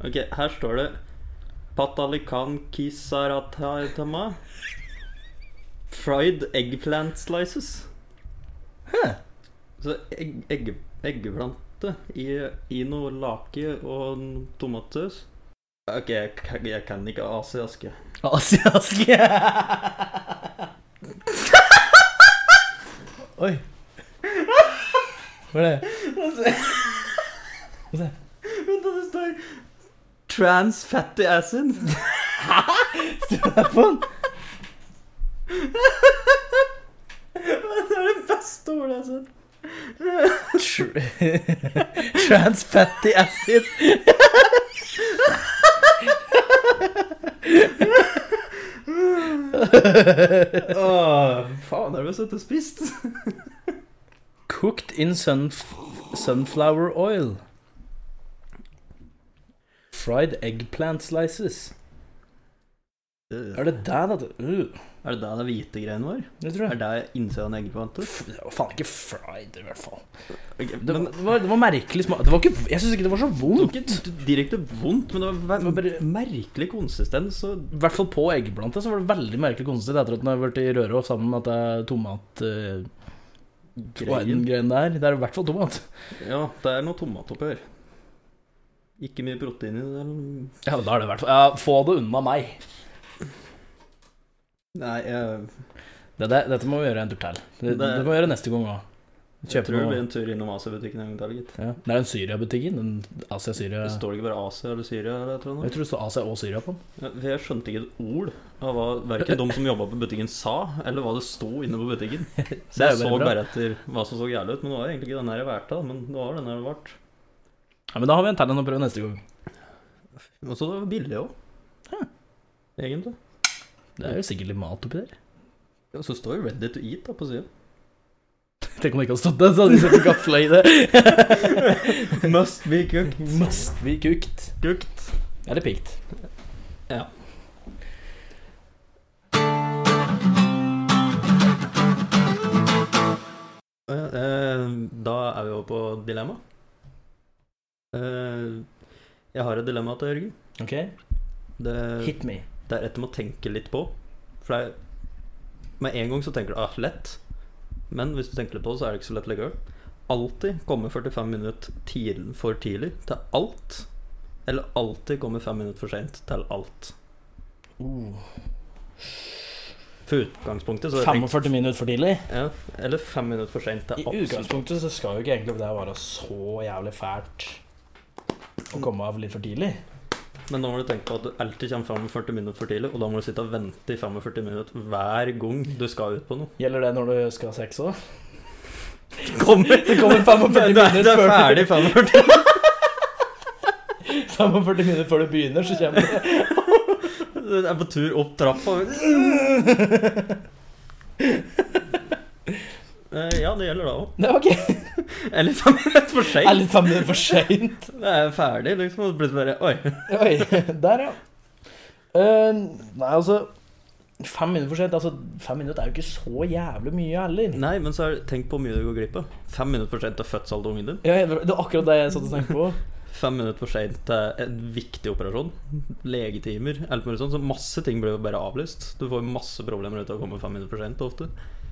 S3: Ok, her står det Patalikan kisaratama Fried eggplant slices. Så egg, egg, eggeplante i, i noe lake og en tomatsaus. Ok, jeg, k- jeg kan ikke asiaske.
S1: Asiask. Oi. Hva er det? Hva er det?
S3: Men det står Trans fatty acid.
S1: Faen.
S3: Det er det beste ordet jeg har sett.
S1: Tr- Trans fatty acid.
S3: Åh, faen, er det vel søtt og spist?
S1: Cooked in sunf sunflower oil. Fried eggplant slices. Er
S3: Er det
S1: det der, da? Uh,
S3: er det der det hvite greiene var?
S1: det tror
S3: Er
S1: jeg.
S3: det innsida av en eggplante?
S1: Det var faen ikke fried, i hvert fall.
S3: Ok,
S1: Det,
S3: men
S1: det, var, det var merkelig smak Det var ikke, Jeg syns ikke det var så vondt. Mm.
S3: ikke direkte vondt, men det var, ve-
S1: Det var bare-
S3: merkelig konsistens. Og
S1: I hvert fall på eggplanta så var det veldig merkelig konsistent etter at den har vært i røra sammen med at det er tomat eh, og en
S3: greien.
S1: grein der. Det er i hvert fall tomat.
S3: Ja, det er noe tomat oppi her. Ikke mye protein i det. eller-
S1: Ja, da er det i hvert fall ja, Få det unna meg.
S3: Nei, jeg,
S1: Det, det, dette må vi gjøre en tur til. Det, det,
S3: Det-
S1: må vi gjøre neste gang òg.
S3: jeg tror det
S1: noe.
S3: blir en tur innom Asia-butikken en gang til, gitt.
S1: Ja. Det er den Syria-butikken. Den Asia-Syria
S3: Det står det ikke bare Asia eller Syria eller et eller
S1: Jeg
S3: annet?
S1: tror det står Asia og Syria på den.
S3: Ja, for Jeg skjønte ikke et ord av hva verken de som jobba på butikken sa, eller hva det sto inne på butikken. Så
S1: Det er
S3: jeg
S1: jo
S3: så
S1: bare bra.
S3: bare etter hva som så jævlig ut, men det var egentlig ikke den her jeg valgte, da, men det var den her jeg valgte.
S1: Ja, men da har vi en talent å prøve neste gang.
S3: Og så det var billig òg. Egentlig.
S1: Det er jo sikkert litt mat oppi der.
S3: Og så står jo 'ready to eat' da på sida.
S1: Tenk om det ikke hadde stått der, så hadde vi sett gafla i det.
S3: Must be cooked.
S1: Must be cooked.
S3: Cooked.
S1: Eller picked.
S3: Ja. Eh, Da er vi over på dilemma. Eh, Jeg har et dilemma til Jørgen.
S1: Ok,
S3: Det,
S1: hit me.
S3: det er et du må tenke litt på. For det er, med en gang så tenker du ah, lett. Men hvis du tenker litt på det, så er det ikke så lett likevel. Alltid komme 45 minutter tidlig for tidlig til alt. Eller alltid komme 5 minutter for seint til alt.
S1: Uh,
S3: For utgangspunktet så
S1: 45 minutter for tidlig.
S3: ja, Eller 5 minutter for seint
S1: I
S3: til absolutt
S1: utgangspunktet så skal jo ikke egentlig det være så jævlig fælt å komme av litt for tidlig.
S3: Men da må du tenke på at du alltid kommer 45 minutter for tidlig, og da må du sitte og vente i 45 minutter hver gang du skal ut på noe.
S1: Gjelder det når du skal ha sex òg?
S3: Kom,
S1: Det kommer 45
S3: du, er, du
S1: minutter
S3: er
S1: før du,
S3: ferdig 45
S1: 45 minutter før du begynner, så kommer det
S3: Du er på tur opp trappa. Eh, Ja, det gjelder da òg.
S1: Nei, ok.
S3: Eller 5 minutter for
S1: Det er
S3: seint.
S1: litt fem minutter for seint.
S3: Det er ferdig, liksom. Og plutselig bare Oi.
S1: Oi. Der, ja. Eh, nei, altså Fem minutter for sent altså, Fem minutter er jo ikke så jævlig mye heller.
S3: Nei, men så er det, tenk på hvor mye du går glipp av. Fem minutter for seint til fødsel av ungen din.
S1: Ja, det var akkurat det jeg satt og tenkte på.
S3: Fem minutter for seint til en viktig operasjon. Legetimer, alt mulig sånt. Så masse ting blir jo bare avlyst. Du får masse problemer ut av å komme fem minutter for seint ofte.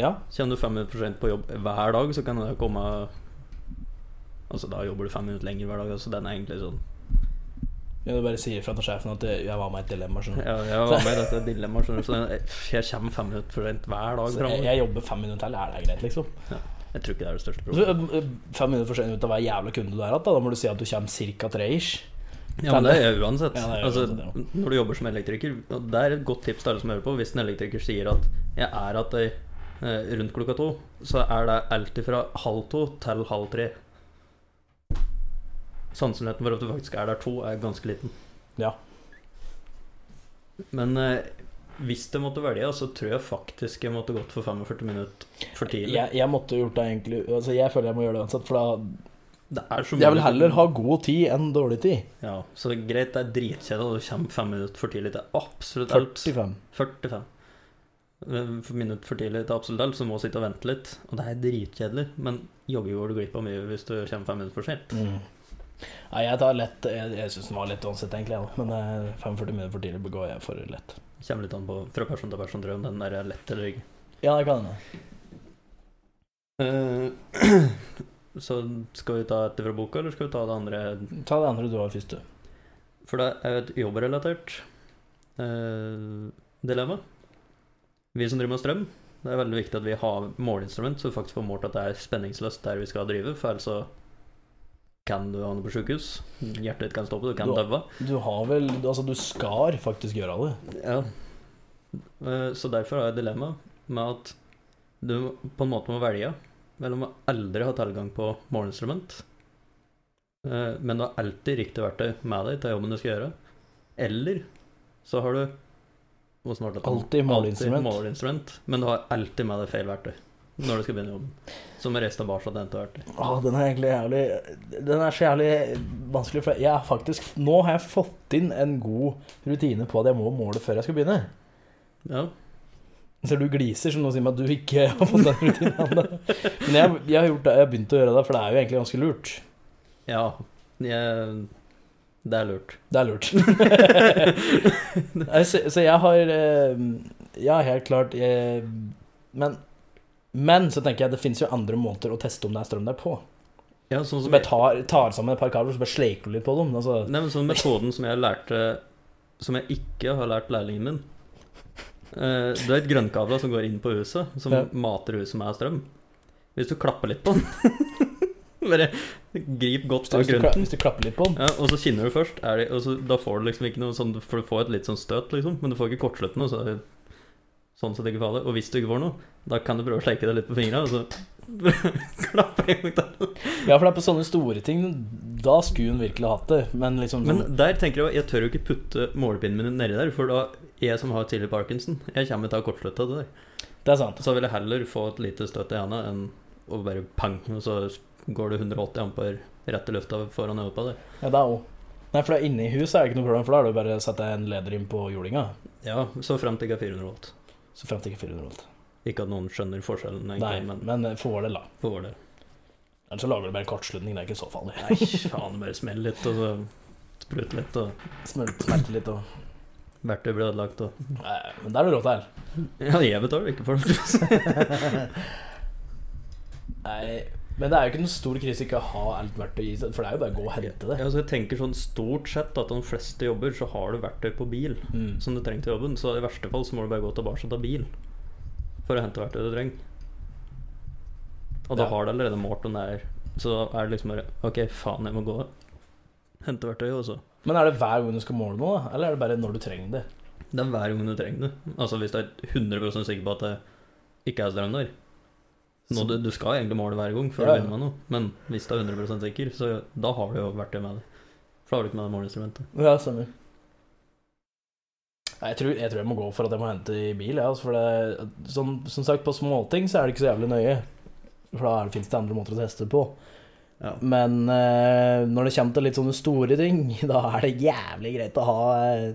S1: Ja,
S3: Kommer du fem minutter for sent på jobb hver dag, så kan det komme Altså, da jobber du fem minutter lenger hver dag, så den er egentlig sånn
S1: Ja, Du bare sier fra til sjefen at jeg var med i et dilemma. skjønner du.
S3: Ja, jeg var med i dette dilemmaet, skjønner du, så jeg- jeg kommer fem minutter for sent hver dag
S1: Så jeg,
S3: framover.
S1: jeg jobber fem minutter til, er det greit, liksom?
S3: Jeg tror ikke det er det største
S1: Så,
S3: problemet.
S1: ø, ø, fem minutter for sent ut av hver jævla kunde du har hatt, da, da må du si at du kommer cirka tre ish.
S3: Ja, men det er jeg uansett.
S1: Ja, det er
S3: Altså,
S1: uansett,
S3: når du jobber som elektriker, og det er et godt tips til alle som hører på, hvis en elektriker sier at jeg er at jeg, eh, rundt klokka to, så er det alltid fra halv to til halv tre. Sannsynligheten for at du faktisk er der to, er ganske liten.
S1: Ja.
S3: Men eh, hvis det måtte velge, så tror jeg faktisk jeg måtte gått for 45 minutter for tidlig.
S1: Jeg, jeg måtte jo gjort det egentlig altså, Jeg føler jeg må gjøre det uansett, for da
S3: Det er så
S1: Jeg vil
S3: mye-
S1: heller ha god tid enn dårlig tid.
S3: Ja, så det er greit, det er dritkjedelig, og du kommer fem minutter for tidlig til absolutt alt.
S1: 45.
S3: 45. Eh, for Minutt for tidlig til absolutt alt, så du må sitte og vente litt. Og det er dritkjedelig, men jaggu går du glipp av mye hvis du kommer fem minutter for sent.
S1: Mm. Nei, jeg tar lett Jeg, jeg syns den var lett uansett, egentlig. Ja. Men ø, 45 minutter for tidlig går jeg for lett.
S3: Det Kommer litt an på fra person til person, tror jeg, om den der er lett eller ikke.
S1: Ja, det kan hende.
S3: Så skal vi ta etter fra boka, eller skal vi ta det andre
S1: Ta det andre du har først, du.
S3: For det er jo et jobbrelatert eh, dilemma. Vi som driver med strøm, det er veldig viktig at vi har måleinstrument, så vi faktisk får målt at det er spenningsløst der vi skal drive, for ellers så kan du havne på sjukehus. Hjertet ditt kan stoppe, du kan
S1: Du-
S3: daue.
S1: Du har vel Altså, du skal faktisk gjøre det.
S3: Ja. Eh, Så derfor har jeg et dilemma med at du på en måte må velge mellom å aldri ha tilgang på måleinstrument, eh, men du har alltid riktig verktøy med deg til jobben du skal gjøre, eller så har du hvor snart er det?
S1: Alltid måleinstrument.
S3: Alltid måleinstrument, men du har alltid med deg feil verktøy når du skal begynne jobben. Så må du reise tilbake til dette verktøy.
S1: Åh, den er egentlig jævlig Den er så jævlig vanskelig, for jeg har faktisk Nå har jeg fått inn en god rutine på at jeg må måle før jeg skal begynne.
S3: Ja.
S1: Ser du gliser, som nå sier meg at du ikke har fått den rutinen ennå. Men jeg, jeg har gjort det, jeg har begynt å gjøre det, for det er jo egentlig ganske lurt.
S3: ja. Jeg, det er lurt.
S1: Det er lurt. Nei, så, så jeg har eh, Ja, helt klart eh, Men men så tenker jeg det finnes jo andre måter å teste om det er strøm der på.
S3: Ja, sånn
S1: Så bare tar, tar sammen et par kabler så bare sleiker du litt på dem. Altså,
S3: Nei, men sånn metoden som jeg lærte Som jeg ikke har lært lærlingen min eh, Du vet grønnkabla som går inn på huset Som
S1: Ja.
S3: mater huset med strøm Hvis du klapper litt på den Bare grip godt av
S1: hvis, du, kla-
S3: grønten
S1: hvis du klapper litt på dem.
S3: ja, og så kinner du først er det, og så, Da får du liksom ikke noe sånn For du får et litt sånn støt liksom Men du får ikke kortslutt noe så, Sånn så det ikke faller Og hvis du ikke får noe Da kan du prøve å sleike deg litt på fingrene Og så klapper jeg
S1: Ja, for det er på sånne store ting Da skulle hun virkelig hatt det. Men liksom
S3: Men
S1: sånn-
S3: der tenker jeg Jeg tør jo ikke putte målepinnen min nedi der, for da jeg som har tidlig parkinson, jeg kommer til å ha kortslutta det der.
S1: Det er sant.
S3: Så vil jeg heller få et lite støtt i handa enn å bare pang, og så går det 180 ampere rett i lufta foran øyet på deg.
S1: Ja, det er jo. Nei, for det er inne i huset er det ikke noe problem, for da er det jo bare å sette en leder inn på jordinga.
S3: Ja, så frem til ikke er 400 volt.
S1: Så frem til ikke 400 volt.
S3: Ikke at noen skjønner forskjellen,
S1: Nei,
S3: egentlig, men
S1: men får det, da.
S3: for vår del.
S1: Ellers så lager du bare kortslutning, det er ikke så farlig.
S3: Nei, faen, det bare smeller litt, og så spruter litt, og
S1: Smelt, smelter litt og
S3: verktøy blir ødelagt, og
S1: Nei, Men det er det råd til.
S3: Ja, jeg betaler ikke for det.
S1: Nei, men det er jo ikke noen stor krise ikke å ha alt verktøy i seg, for det er jo bare å gå og hente det.
S3: Ja, så jeg tenker sånn stort sett at de fleste jobber så har du verktøy på bil
S1: Mm.
S3: som du trenger til jobben. Så i verste fall så må du bare gå tilbake og ta bil for å hente verktøyet du trenger. Og da
S1: Ja.
S3: har du allerede målt om det er Så da er det liksom bare OK, faen, jeg må gå og hente verktøyet, og så
S1: Men er det hver gang du skal måle noe, da? eller er det bare når du trenger det?
S3: Det er hver gang du trenger det. Altså hvis du er 100 sikker på at det ikke er strøm der. Nå,
S1: Så-
S3: du, du skal egentlig måle hver gang før
S1: Ja,
S3: du
S1: ja.
S3: begynner med noe, men hvis du er 100 sikker, så da har du jo verktøy med deg. For da har du ikke med deg måleinstrumentet.
S1: Ja, stemmer. Nei, Jeg tror, jeg tror jeg må gå for at jeg må hente i bil. Ja, altså, for det, som, som sagt, på småting så er det ikke så jævlig nøye. For da fins det andre måter å teste på.
S3: Ja.
S1: Men eh, når det kommer til litt sånne store ting, da er det jævlig greit å ha eh,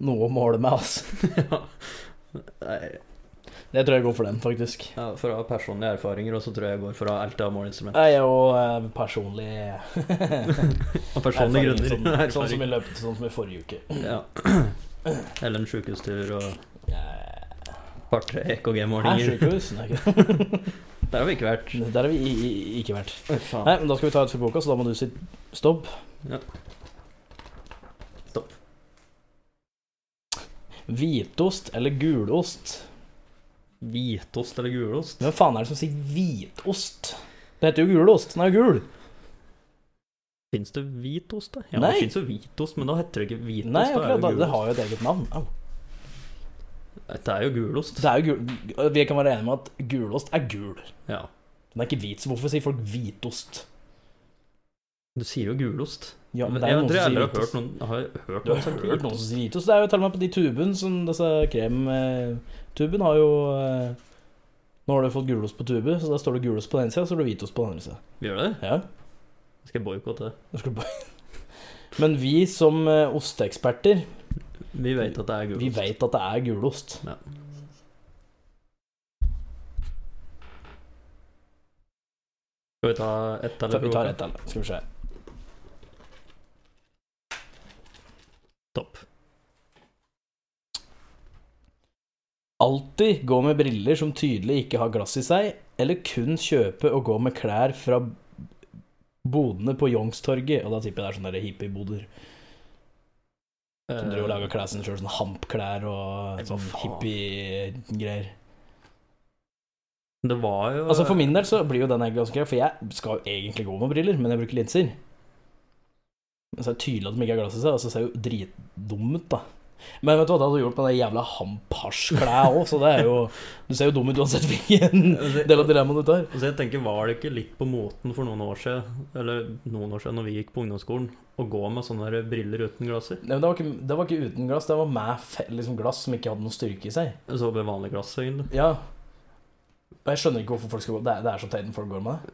S1: noe å måle med. Altså.
S3: Ja. Nei,
S1: Jeg tror jeg går for den, faktisk.
S3: ja, for å ha personlige erfaringer, og så tror jeg jeg går for å ha alt jeg har måleinstrument.
S1: Jeg er jo eh, personlig
S3: Av personlige
S1: erfaring,
S3: grunner.
S1: Sånn, sånn, som
S3: Erfaring.
S1: i løpet, sånn som i forrige uke.
S3: Ja. Eller en sjukehustur og
S1: Eh,
S3: et par-tre
S1: Her,
S3: EKG-målinger.
S1: sykehus? Nei, ikke-
S3: Der har vi ikke vært.
S1: Der har vi i, i, ikke vært.
S3: Oi, faen.
S1: Nei, men da skal vi ta ut for boka, så da må du si stopp.
S3: Ja. Stopp.
S1: Hvitost eller gulost?
S3: Hvitost eller gulost?
S1: Hvem faen er det som sier hvitost? Det heter jo gulost, den er jo gul.
S3: Fins det hvitost, da? Ja,
S1: Nei.
S3: det fins jo hvitost, men da heter det ikke hvitost.
S1: Nei,
S3: da er
S1: akkurat,
S3: det,
S1: da, det
S3: gulost.
S1: har jo et eget navn. Au.
S3: det er jo gulost.
S1: Det er jo gul... Vi kan være enige om at gulost er gul.
S3: Ja.
S1: Den er ikke hvit, så hvorfor sier folk hvitost?
S3: Du sier jo gulost.
S1: Ja, men
S3: men
S1: det er jo
S3: jeg
S1: noen
S3: tror jeg
S1: som
S3: aldri har hørt
S1: sier hvitost.
S3: noen Har jeg hørt
S1: Du har
S3: si
S1: hørt noen som sier hvitost. Det er jo til og med på de tuben som disse kremtuben har jo eh, Nå har du fått gulost på tube, så da står det gulost på den ene sida, så står det hvitost på den andre sida.
S3: Vi gjør det?
S1: Ja.
S3: Skal jeg boikotte det?
S1: Nå skal du bare- Men vi som eh, osteeksperter,
S3: Vi vet at det er gulost.
S1: vi vet at det er gulost.
S3: Ja. Skal vi ta ett eller
S1: Vi tar ett eller skal vi se.
S3: Topp.
S1: Alltid gå med briller som tydelig ikke har glass i seg, eller kun kjøpe og gå med klær fra bodene på Youngstorget. Og da tipper jeg det er sånne der hippieboder som driver og lager klær sine sjøl, sånn hampklær og
S3: Eh. Nei, hva
S1: sånn
S3: faen?
S1: hippiegreier.
S3: Det var jo
S1: Altså For min del så blir jo den egentlig ganske grei, for jeg skal jo egentlig gå med briller, men jeg bruker linser. Men så er det tydelig at de ikke har glass i seg, og så ser jeg jo dritdum ut, da. Men vet du hva, det hadde du gjort med det jævla hamp-hasj-klær òg, så det er jo Du ser jo dum ut uansett hvilken del av dilemmaet du tar.
S3: Altså jeg tenker, Var det ikke litt på moten for noen år siden, eller noen år siden når vi gikk på ungdomsskolen, å gå med sånne der briller uten glasser?
S1: Nei, men det, var ikke, det var ikke uten glass, det var med fe- liksom glass som ikke hadde noen styrke i seg.
S3: Så med Altså, vanlig glass, egentlig.
S1: Ja Og jeg skjønner ikke hvorfor folk skal gå Det er, det er så teit når folk går med det.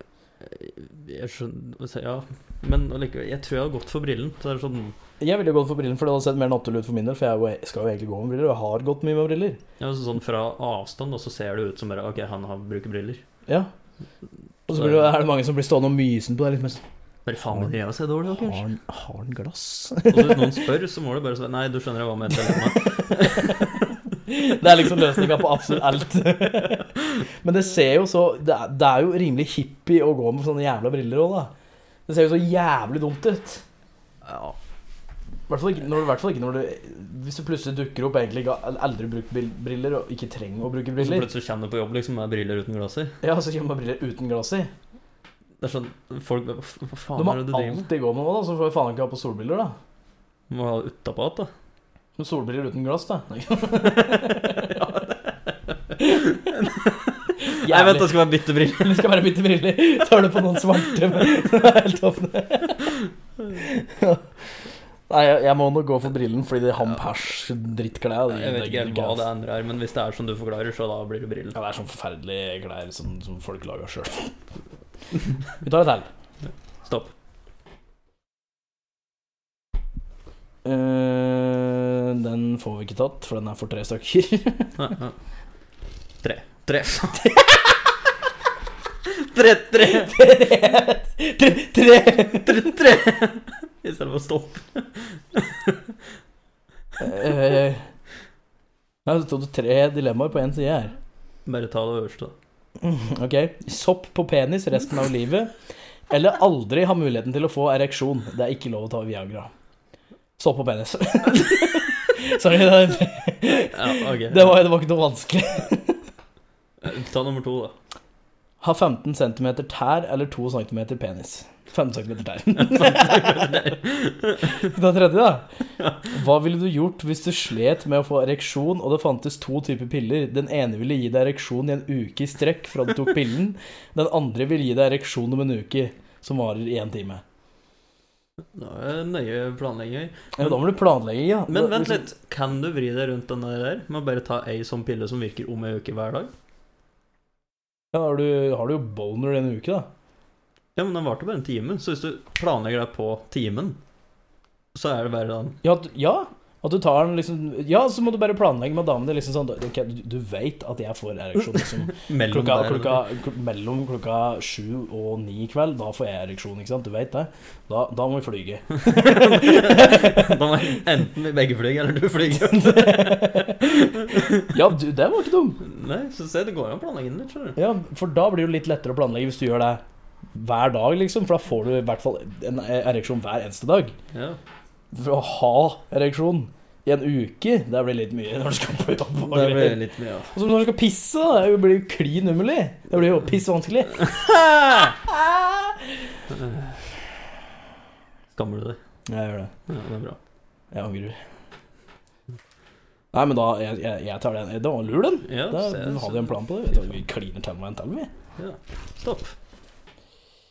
S3: Jeg skjønner Ja. Men allikevel, jeg tror jeg hadde gått for brillen. Så er det sånn
S1: Jeg ville jo gått for brillen, for det hadde sett mer naturlig ut for min del. For jeg er jo- jeg skal jo egentlig gå med briller, og jeg har gått mye med briller.
S3: Ja, så sånn fra avstand, og så ser det ut som bare Ok, han har bruker briller.
S1: Ja Og så blir det, er det mange som blir stående og mysen på deg. Litt mer sånn
S3: Bare faen, men jeg ser dårlig ut,
S1: Har
S3: kanskje.
S1: han- har han glass?
S3: Og så hvis noen spør, så må du bare svare Nei, du skjønner jeg hva med et dilemma.
S1: Det er liksom løsninga på absolutt alt. Men det ser jo så Det er, det er jo rimelig hippie å gå med sånne jævla briller òg, da. Det ser jo så jævlig dumt ut.
S3: Ja.
S1: hvert fall ikke, når, hvert fall ikke når du Hvis du plutselig dukker opp egentlig ikke har- aldri brukt bil- briller og ikke trenger å bruke
S3: Og så
S1: briller,
S3: plutselig kommer du på jobb liksom med briller uten glasser.
S1: ja, så kommer det briller uten glass i.
S3: Det er sånn Folk bare, Hva hva
S1: Du
S3: faen
S1: må
S3: er det du driver med?
S1: alltid gå med noe, da, så får jeg faen ikke ha på solbriller, da.
S3: Må ha det utapå igjen, da.
S1: Men solbriller uten glass, da.
S3: Jeg vet
S1: Jævlig.
S3: det skal være bytte briller.
S1: Det skal bare bytte briller. Tar du på noen svarte men det er helt åpne. Nei, jeg, jeg må nok gå for brillen, fordi det hampers-drittklær
S3: Jeg vet ikke helt hva det andre er, men hvis det er som du forklarer, så da blir det briller.
S1: Ja, det er sånn forferdelige klær som, som folk lager sjøl. Vi tar et til.
S3: Stopp.
S1: Eh, den får vi ikke tatt, for den er for tre stykker.
S3: Ja, ja. Tre. Tre. tre, tre,
S1: tre, tre.
S3: tre, tre. I stedet for stopp.
S1: Eh, ja, så tok du tre dilemmaer på én side her.
S3: Bare ta det øverste. da.
S1: Mm, Ok. Sopp på penis resten av livet. Eller aldri ha muligheten til å få ereksjon. Det er ikke lov å ta Viagra. Sopp på penis. Sorry, det,
S3: Ja, ok.
S1: det, var, det var ikke noe vanskelig.
S3: Ta nummer to, da.
S1: Ha 15 cm tær eller 2 cm penis. 15 cm tær. Da tredje, da. Hva ville du gjort hvis du slet med å få ereksjon, og det fantes to typer piller? Den ene ville gi deg ereksjon i en uke i strekk fra du tok pillen. Den andre ville gi deg ereksjon om en uke, som varer i én time.
S3: Nå er det nøye planlegging.
S1: Ja, da må du planlegge, ja.
S3: Men vent litt. Kan du vri deg rundt den der med å bare ta ei sånn pille som virker om ei uke hver dag?
S1: Ja, har, du, har du jo boner i en uke, da?
S3: Ja, men den varte bare en time, så hvis du planlegger deg på timen, så er det bare sånn den.
S1: Ja, at- ja. At du tar den liksom Ja, så må du bare planlegge med damene liksom sånn Ok, du, du veit at jeg får ereksjon liksom
S3: Mellom
S1: klokka,
S3: der-
S1: klokka, kl- mellom klokka sju og ni i kveld, da får jeg ereksjon, ikke sant? Du vet det? Da, da må vi flyge.
S3: Da må enten vi begge flyg, eller du flyg.
S1: Ja, du, det var ikke dum.
S3: Nei, så se, det går jo an å planlegge den litt, skjønner du.
S1: Ja, for da blir det jo litt lettere å planlegge hvis du gjør det hver dag, liksom. For da får du i hvert fall en e- ereksjon hver eneste dag.
S3: Ja.
S1: For å ha ereksjon i en uke, det blir litt mye når du skal på jobb. Og
S3: Det blir
S1: greier.
S3: litt mye, ja.
S1: Og så når du skal pisse, da. Det blir jo klin umulig. Det blir jo pissvanskelig.
S3: Eh, Skammer du deg?
S1: Jeg gjør det.
S3: Ja, det er bra.
S1: Jeg angrer. Nei, men da Jeg, jeg, jeg tar den. Det var lur, den.
S3: Ja,
S1: Da
S3: se, se.
S1: hadde vi en plan på det. Vi tar- Vi kliner til med en til, vi.
S3: Stopp.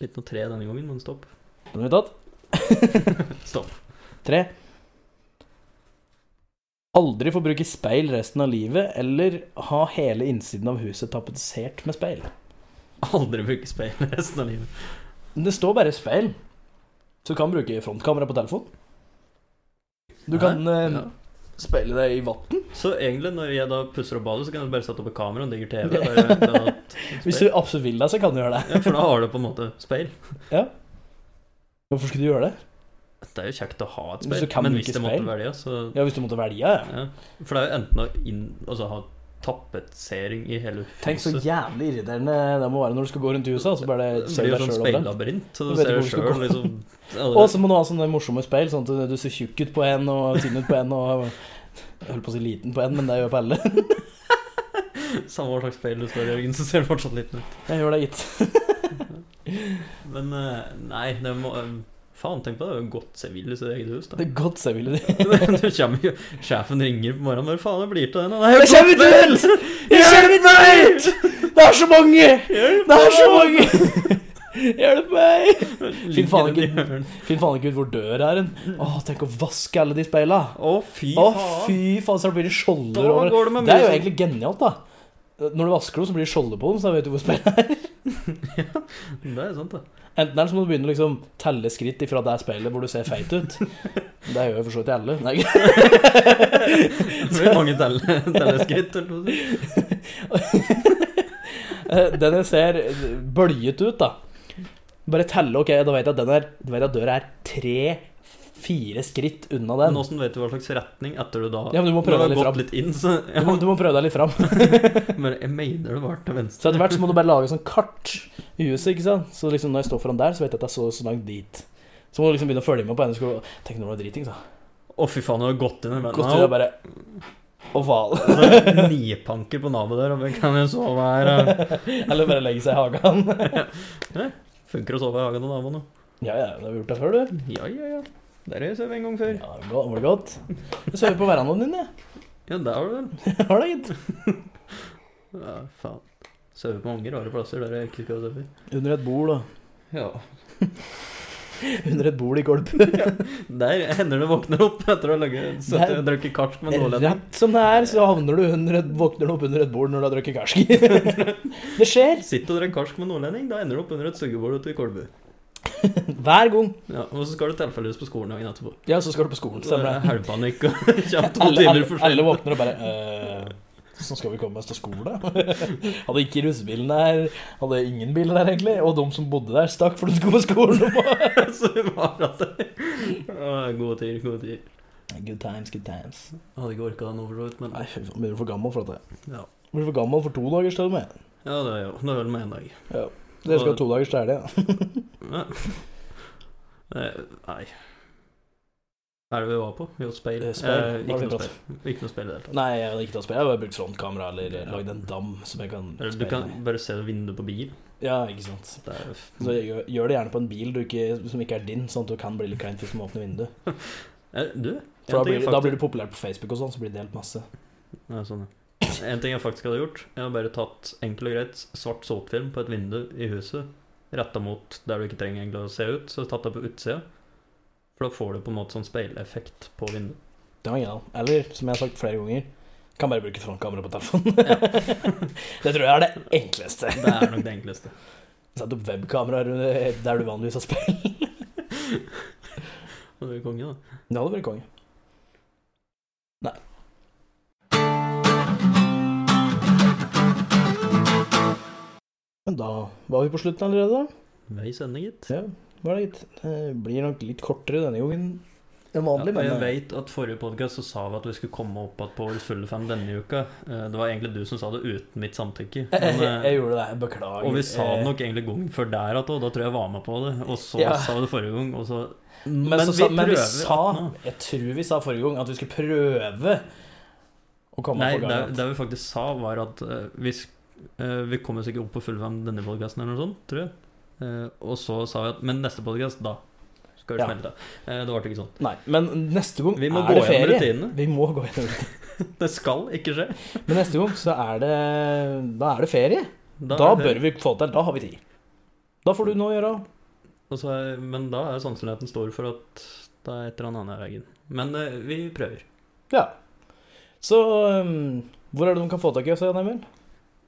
S3: Litt noe tre denne gangen, men stopp.
S1: Den har vi tatt.
S3: Stopp.
S1: Tre. Aldri få bruke speil resten av livet, eller ha hele innsiden av huset tapetsert med speil.
S3: Aldri bruke speil resten av livet.
S1: Men det står bare speil, så du kan bruke frontkamera på telefon. Du kan eh,
S3: Ja.
S1: speile deg i vann.
S3: Så egentlig, når jeg da pusser opp badet, så kan jeg bare sette opp et kamera og en diger TV. Bare, bare,
S1: Hvis du absolutt vil det, så kan du gjøre det.
S3: ja, for da har du på en måte speil.
S1: Hvorfor skulle du gjøre det?
S3: Det er jo kjekt å ha et
S1: Men
S3: speil,
S1: så kan
S3: men
S1: du
S3: hvis
S1: ikke
S3: det måtte
S1: speil.
S3: velge, så
S1: Ja, Hvis du måtte velge, ja.
S3: ja. For det er jo enten å inn, altså, ha tapetsering i hele huset
S1: Tenk så jævlig irriterende det må være når du skal gå rundt i huset, og så bare
S3: Det
S1: ser
S3: blir jo
S1: du deg
S3: sånn
S1: sjøl overalt.
S3: speillabyrint, så
S1: Du
S3: du
S1: vet
S3: ser deg
S1: ikke hvor
S3: sjøl
S1: du
S3: liksom ja, det-
S1: Og så må du ha sånne morsomme speil, sånn at du ser tjukk ut på en og tynn ut på en og Jeg holdt på å si liten på en, men det gjør jeg på alle.
S3: Samme hva slags speil du står i, Jørgen, så ser du fortsatt liten ut.
S1: Jeg gjør det gitt.
S3: Men eh, nei, det må eh, Faen, tenk på det. Det er jo godt sivil i sitt eget hus, da.
S1: Det er godt selvfølgelig.
S3: du kommer jo Sjefen ringer på morgenen. Hva faen det blir til den? da?
S1: Jeg kommer
S3: Nei,
S1: ikke ut! Jeg kommer ikke ut! Det er så mange! Det er så mange! Hjelp meg! Finn faen
S3: ligger i
S1: ikke-
S3: hjørnet.
S1: Finn faen ikke ut hvor døra er hen. Å, tenk å vaske alle de speila.
S3: Å, fy
S1: Å,
S3: faen.
S1: fy faen, så blir det
S3: Da
S1: skjolder over
S3: går det med
S1: Det er jo
S3: mye
S1: egentlig genialt, da. Når du vasker dem, så blir det skjolder på dem, så da vet du hvor speila er.
S3: sånn- Det er sant, det.
S1: Enten er det så må du begynne å liksom telle skritt ifra det speilet hvor du ser feit ut. Det gjør jo for så vidt alle. Nei,
S3: Det blir mange telle- telleskritt. eller noe sånt.
S1: Eh, Den jeg ser bølget ut, da. Bare telle, ok, da vet jeg at, den er, da vet jeg at døra er tre-fire skritt unna
S3: Men
S1: den.
S3: åssen vet du hva slags retning etter du da
S1: Ja, men du må prøve
S3: når
S1: deg
S3: du
S1: litt
S3: har
S1: fram.
S3: gått litt inn, så
S1: Du
S3: ja,
S1: må, du må prøve deg litt fram.
S3: Men jeg mener det var til venstre.
S1: Så etter hvert så må du bare lage sånn kart i huset, ikke sant. Så liksom når jeg står foran der, så vet jeg at jeg så så langt dit. Så må du liksom begynne å følge med på henne. Skal du- Tenk når du er driting, da.
S3: Å, fy faen, du har gått inn i
S1: Godt til det
S3: mellom.
S1: er bare oval.
S3: Nipanker på naboet der, og hvem kan jeg sove her?
S1: Eller bare legge seg i hagen.
S3: Funker å sove i hagen til naboen, jo.
S1: Ja ja, du har gjort det før, du.
S3: Ja, ja, ja. Der har jeg sovet en gang før.
S1: Ja, det var godt. Jeg sover på verandaen din, jeg.
S3: Ja, der var det vel.
S1: Jeg Har det, gitt.
S3: Ja, faen. Sover på mange rare plasser der jeg ikke skal sove.
S1: Under et bord, da.
S3: Ja.
S1: Under et bord i Kolbu.
S3: Der hender det våkner opp etter å ha ligget- sittet og drukket karsk med nåløpet.
S1: Rett som det er, så havner du under et, våkner du opp under et bord når du har drukket karsk. det skjer
S3: Sitt og drikk karsk med nordlending, da ender du opp under et sugebord ute i Kolbu.
S1: hver gang.
S3: Ja, og så skal du tilfeldigvis på skolen dagen etterpå.
S1: Ja, så skal du på skolen,
S3: Så er det
S1: stemmer det.
S3: helgepanikk og kommer to
S1: Alle,
S3: timer
S1: alle,
S3: for
S1: alle
S3: sent.
S1: våkner og bare «Øh, Så skal vi komme oss til skole? Hadde ikke russebilen der, hadde ingen bil der egentlig. Og de som bodde der, stakk for de skulle på skolen.
S3: Så det var altså Å, Gode tider, gode tider.
S1: Good times, good times.
S3: Jeg hadde ikke orka det nå, for så vidt, men
S1: Nei, fy faen, blir du for gammel for dette?
S3: Ja.
S1: Blir du for gammel for to dagers til og med?
S3: Ja, det er jo det er vel med en dag.
S1: Ja. Dere skal ha to dagers til helga. Ja.
S3: Ja. Eh, Nei. Hva er det vi var på? Jo, speil.
S1: Eh, speil.
S3: Eh,
S1: Da har
S3: ikke,
S1: vi
S3: noe
S1: tatt.
S3: speil. ikke noe speil i det hele tatt.
S1: Nei, jeg hadde ikke tatt speil. Jeg hadde bare brukt frontkamera eller lagd en dam som jeg kan
S3: Eller Du
S1: speile
S3: kan
S1: meg.
S3: bare se vinduet på bil.
S1: Ja, ikke sant.
S3: Det er
S1: Så gjør, gjør det gjerne på en bil du ikke, som ikke er din, sånn at du kan bli litt kleint hvis du må åpne vinduet.
S3: Eh, Du? en
S1: For da
S3: ting
S1: blir,
S3: jeg
S1: da
S3: faktisk-
S1: blir du populær på Facebook og sånn, så blir det delt masse.
S3: Nei, sånn, ja. En ting jeg faktisk hadde gjort Jeg hadde bare tatt enkelt og greit svart såpfilm på et vindu i huset Rettet mot der du ikke trenger egentlig å se ut Så tatt det på utsida For da får du på en måte sånn speileffekt på vinduet
S1: Det var genial. Eller, som jeg har sagt flere ganger, kan bare bruke frontkamera på telefonen. det tror jeg er det enkleste.
S3: Det er nok det enkleste
S1: Sett opp webkameraer under- der du vanligvis har speil.
S3: Og det er jo konge da
S1: Det hadde vært konge. Nei. Men da var vi på slutten allerede, da.
S3: Veis ende gitt
S1: Ja, var det gitt. Det blir nok litt kortere denne gangen
S3: ja,
S1: enn vanlig,
S3: og jeg
S1: men eh,
S3: vet at forrige podcast så sa vi at vi skulle komme opp igjen på vår fulle fem denne uka Eh, Det var egentlig du som sa det uten mitt samtykke
S1: jeg,
S3: men, eh,
S1: jeg gjorde det. jeg Beklager.
S3: Og vi sa det
S1: Eh,
S3: nok egentlig gangen før der at også, Da tror jeg jeg var med på det Og så
S1: Ja.
S3: sa vi det forrige gang Og så
S1: Men,
S3: Men
S1: så,
S3: vi
S1: sa- men vi
S3: prøver
S1: sa
S3: at nå-
S1: Jeg tror vi sa forrige gang at vi skulle prøve å komme
S3: Nei,
S1: på
S3: det,
S1: gang. igjen.
S3: det vi faktisk sa, var at eh, vi, sk- eh, vi kommer sikkert opp på full fem denne podkasten, eller noe sånt, tror jeg. Eh, og så sa vi at Men neste podkast, da skal vi
S1: Ja.
S3: smelte. Eh, det ble ikke sånn.
S1: Nei, men neste gang
S3: Vi må
S1: er
S3: gå
S1: det
S3: gjennom
S1: ferie.
S3: rutinene.
S1: Vi må gå gjennom rutinene.
S3: Det skal ikke skje.
S1: Men neste gang så er det Da er det ferie. Da,
S3: er det-
S1: bør vi få til. Da har vi tid. Da får du noe å gjøre.
S3: og så er, Men da er sannsynligheten stor for at det er et eller annet i veien. Men eh, vi prøver.
S1: Ja. Så um, hvor er det de kan få tak i oss, Jan Emil?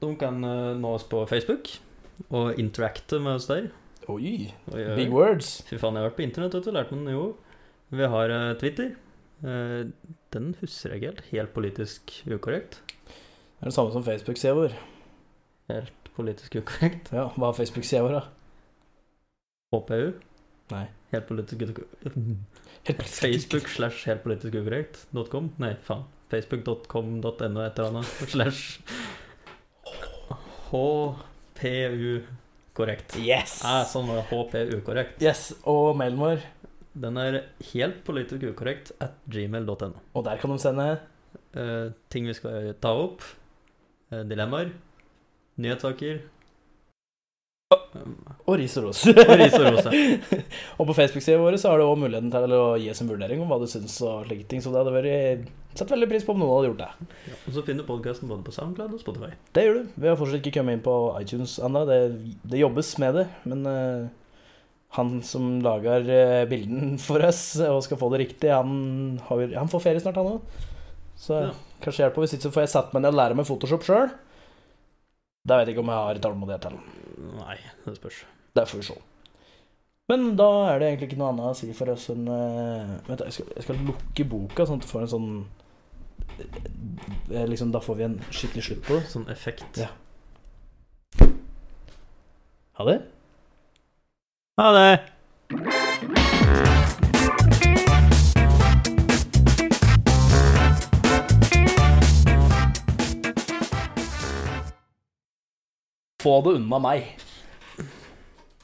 S3: De kan eh, nå oss på Facebook og interacte med oss der.
S1: Oi,
S3: Og gjøre-
S1: big words.
S3: Fy faen, jeg har vært på internett, vet du. Lært meg noe. Vi har eh, Twitter. Eh, den husker jeg ikke helt. Helt politisk ukorrekt.
S1: Det er det samme som Facebook-sida vår.
S3: Helt politisk ukorrekt.
S1: Ja, hva er Facebook-sida vår, da?
S3: HPU.
S1: Nei.
S3: Helt politisk ukorrekt.
S1: Helt
S3: Facebook slash helt politisk ukorrekt. Dot com. Nei, faen. Facebook.com.no et eller annet. Slash HPU korrekt.
S1: Yes!
S3: Nei, sånn var det. HPU korrekt.
S1: Yes, Og mailen vår.
S3: Den er helt politisk ukorrekt at gmail.no.
S1: Og der kan de sende
S3: Eh, ting vi skal ta opp. eh, dilemmaer. Nyhetssaker. Eh,
S1: Og ris og ros.
S3: Og ris og ros,
S1: Og på Facebook-sida vår så har du også muligheten til å gi oss en vurdering om hva du syns og slike ting, så det hadde vært Sett veldig pris på om noen hadde gjort det.
S3: Ja. Og så finner du podkasten både på SoundCloud og Spotify.
S1: Det gjør du. Vi har fortsatt ikke kommet inn på iTunes ennå. Det, det jobbes med det, men eh, han som lager eh, bilden for oss og skal få det riktig, han, har, han får ferie snart, han òg. Så
S3: Ja.
S1: kanskje hjelper hvis ikke, så får jeg satt meg ned og lære meg Photoshop sjøl. Da vet jeg ikke om jeg har tålmodighet til.
S3: Nei, det spørs.
S1: Det får vi se. Men da er det egentlig ikke noe annet å si for oss enn eh, Vent, da, jeg skal, jeg skal lukke boka, sånn at du får en sånn eh, Liksom, da får vi en skikkelig slutt på det.
S3: Sånn effekt.
S1: Ja. Ha det.
S3: Ha det!
S1: Få det unna meg.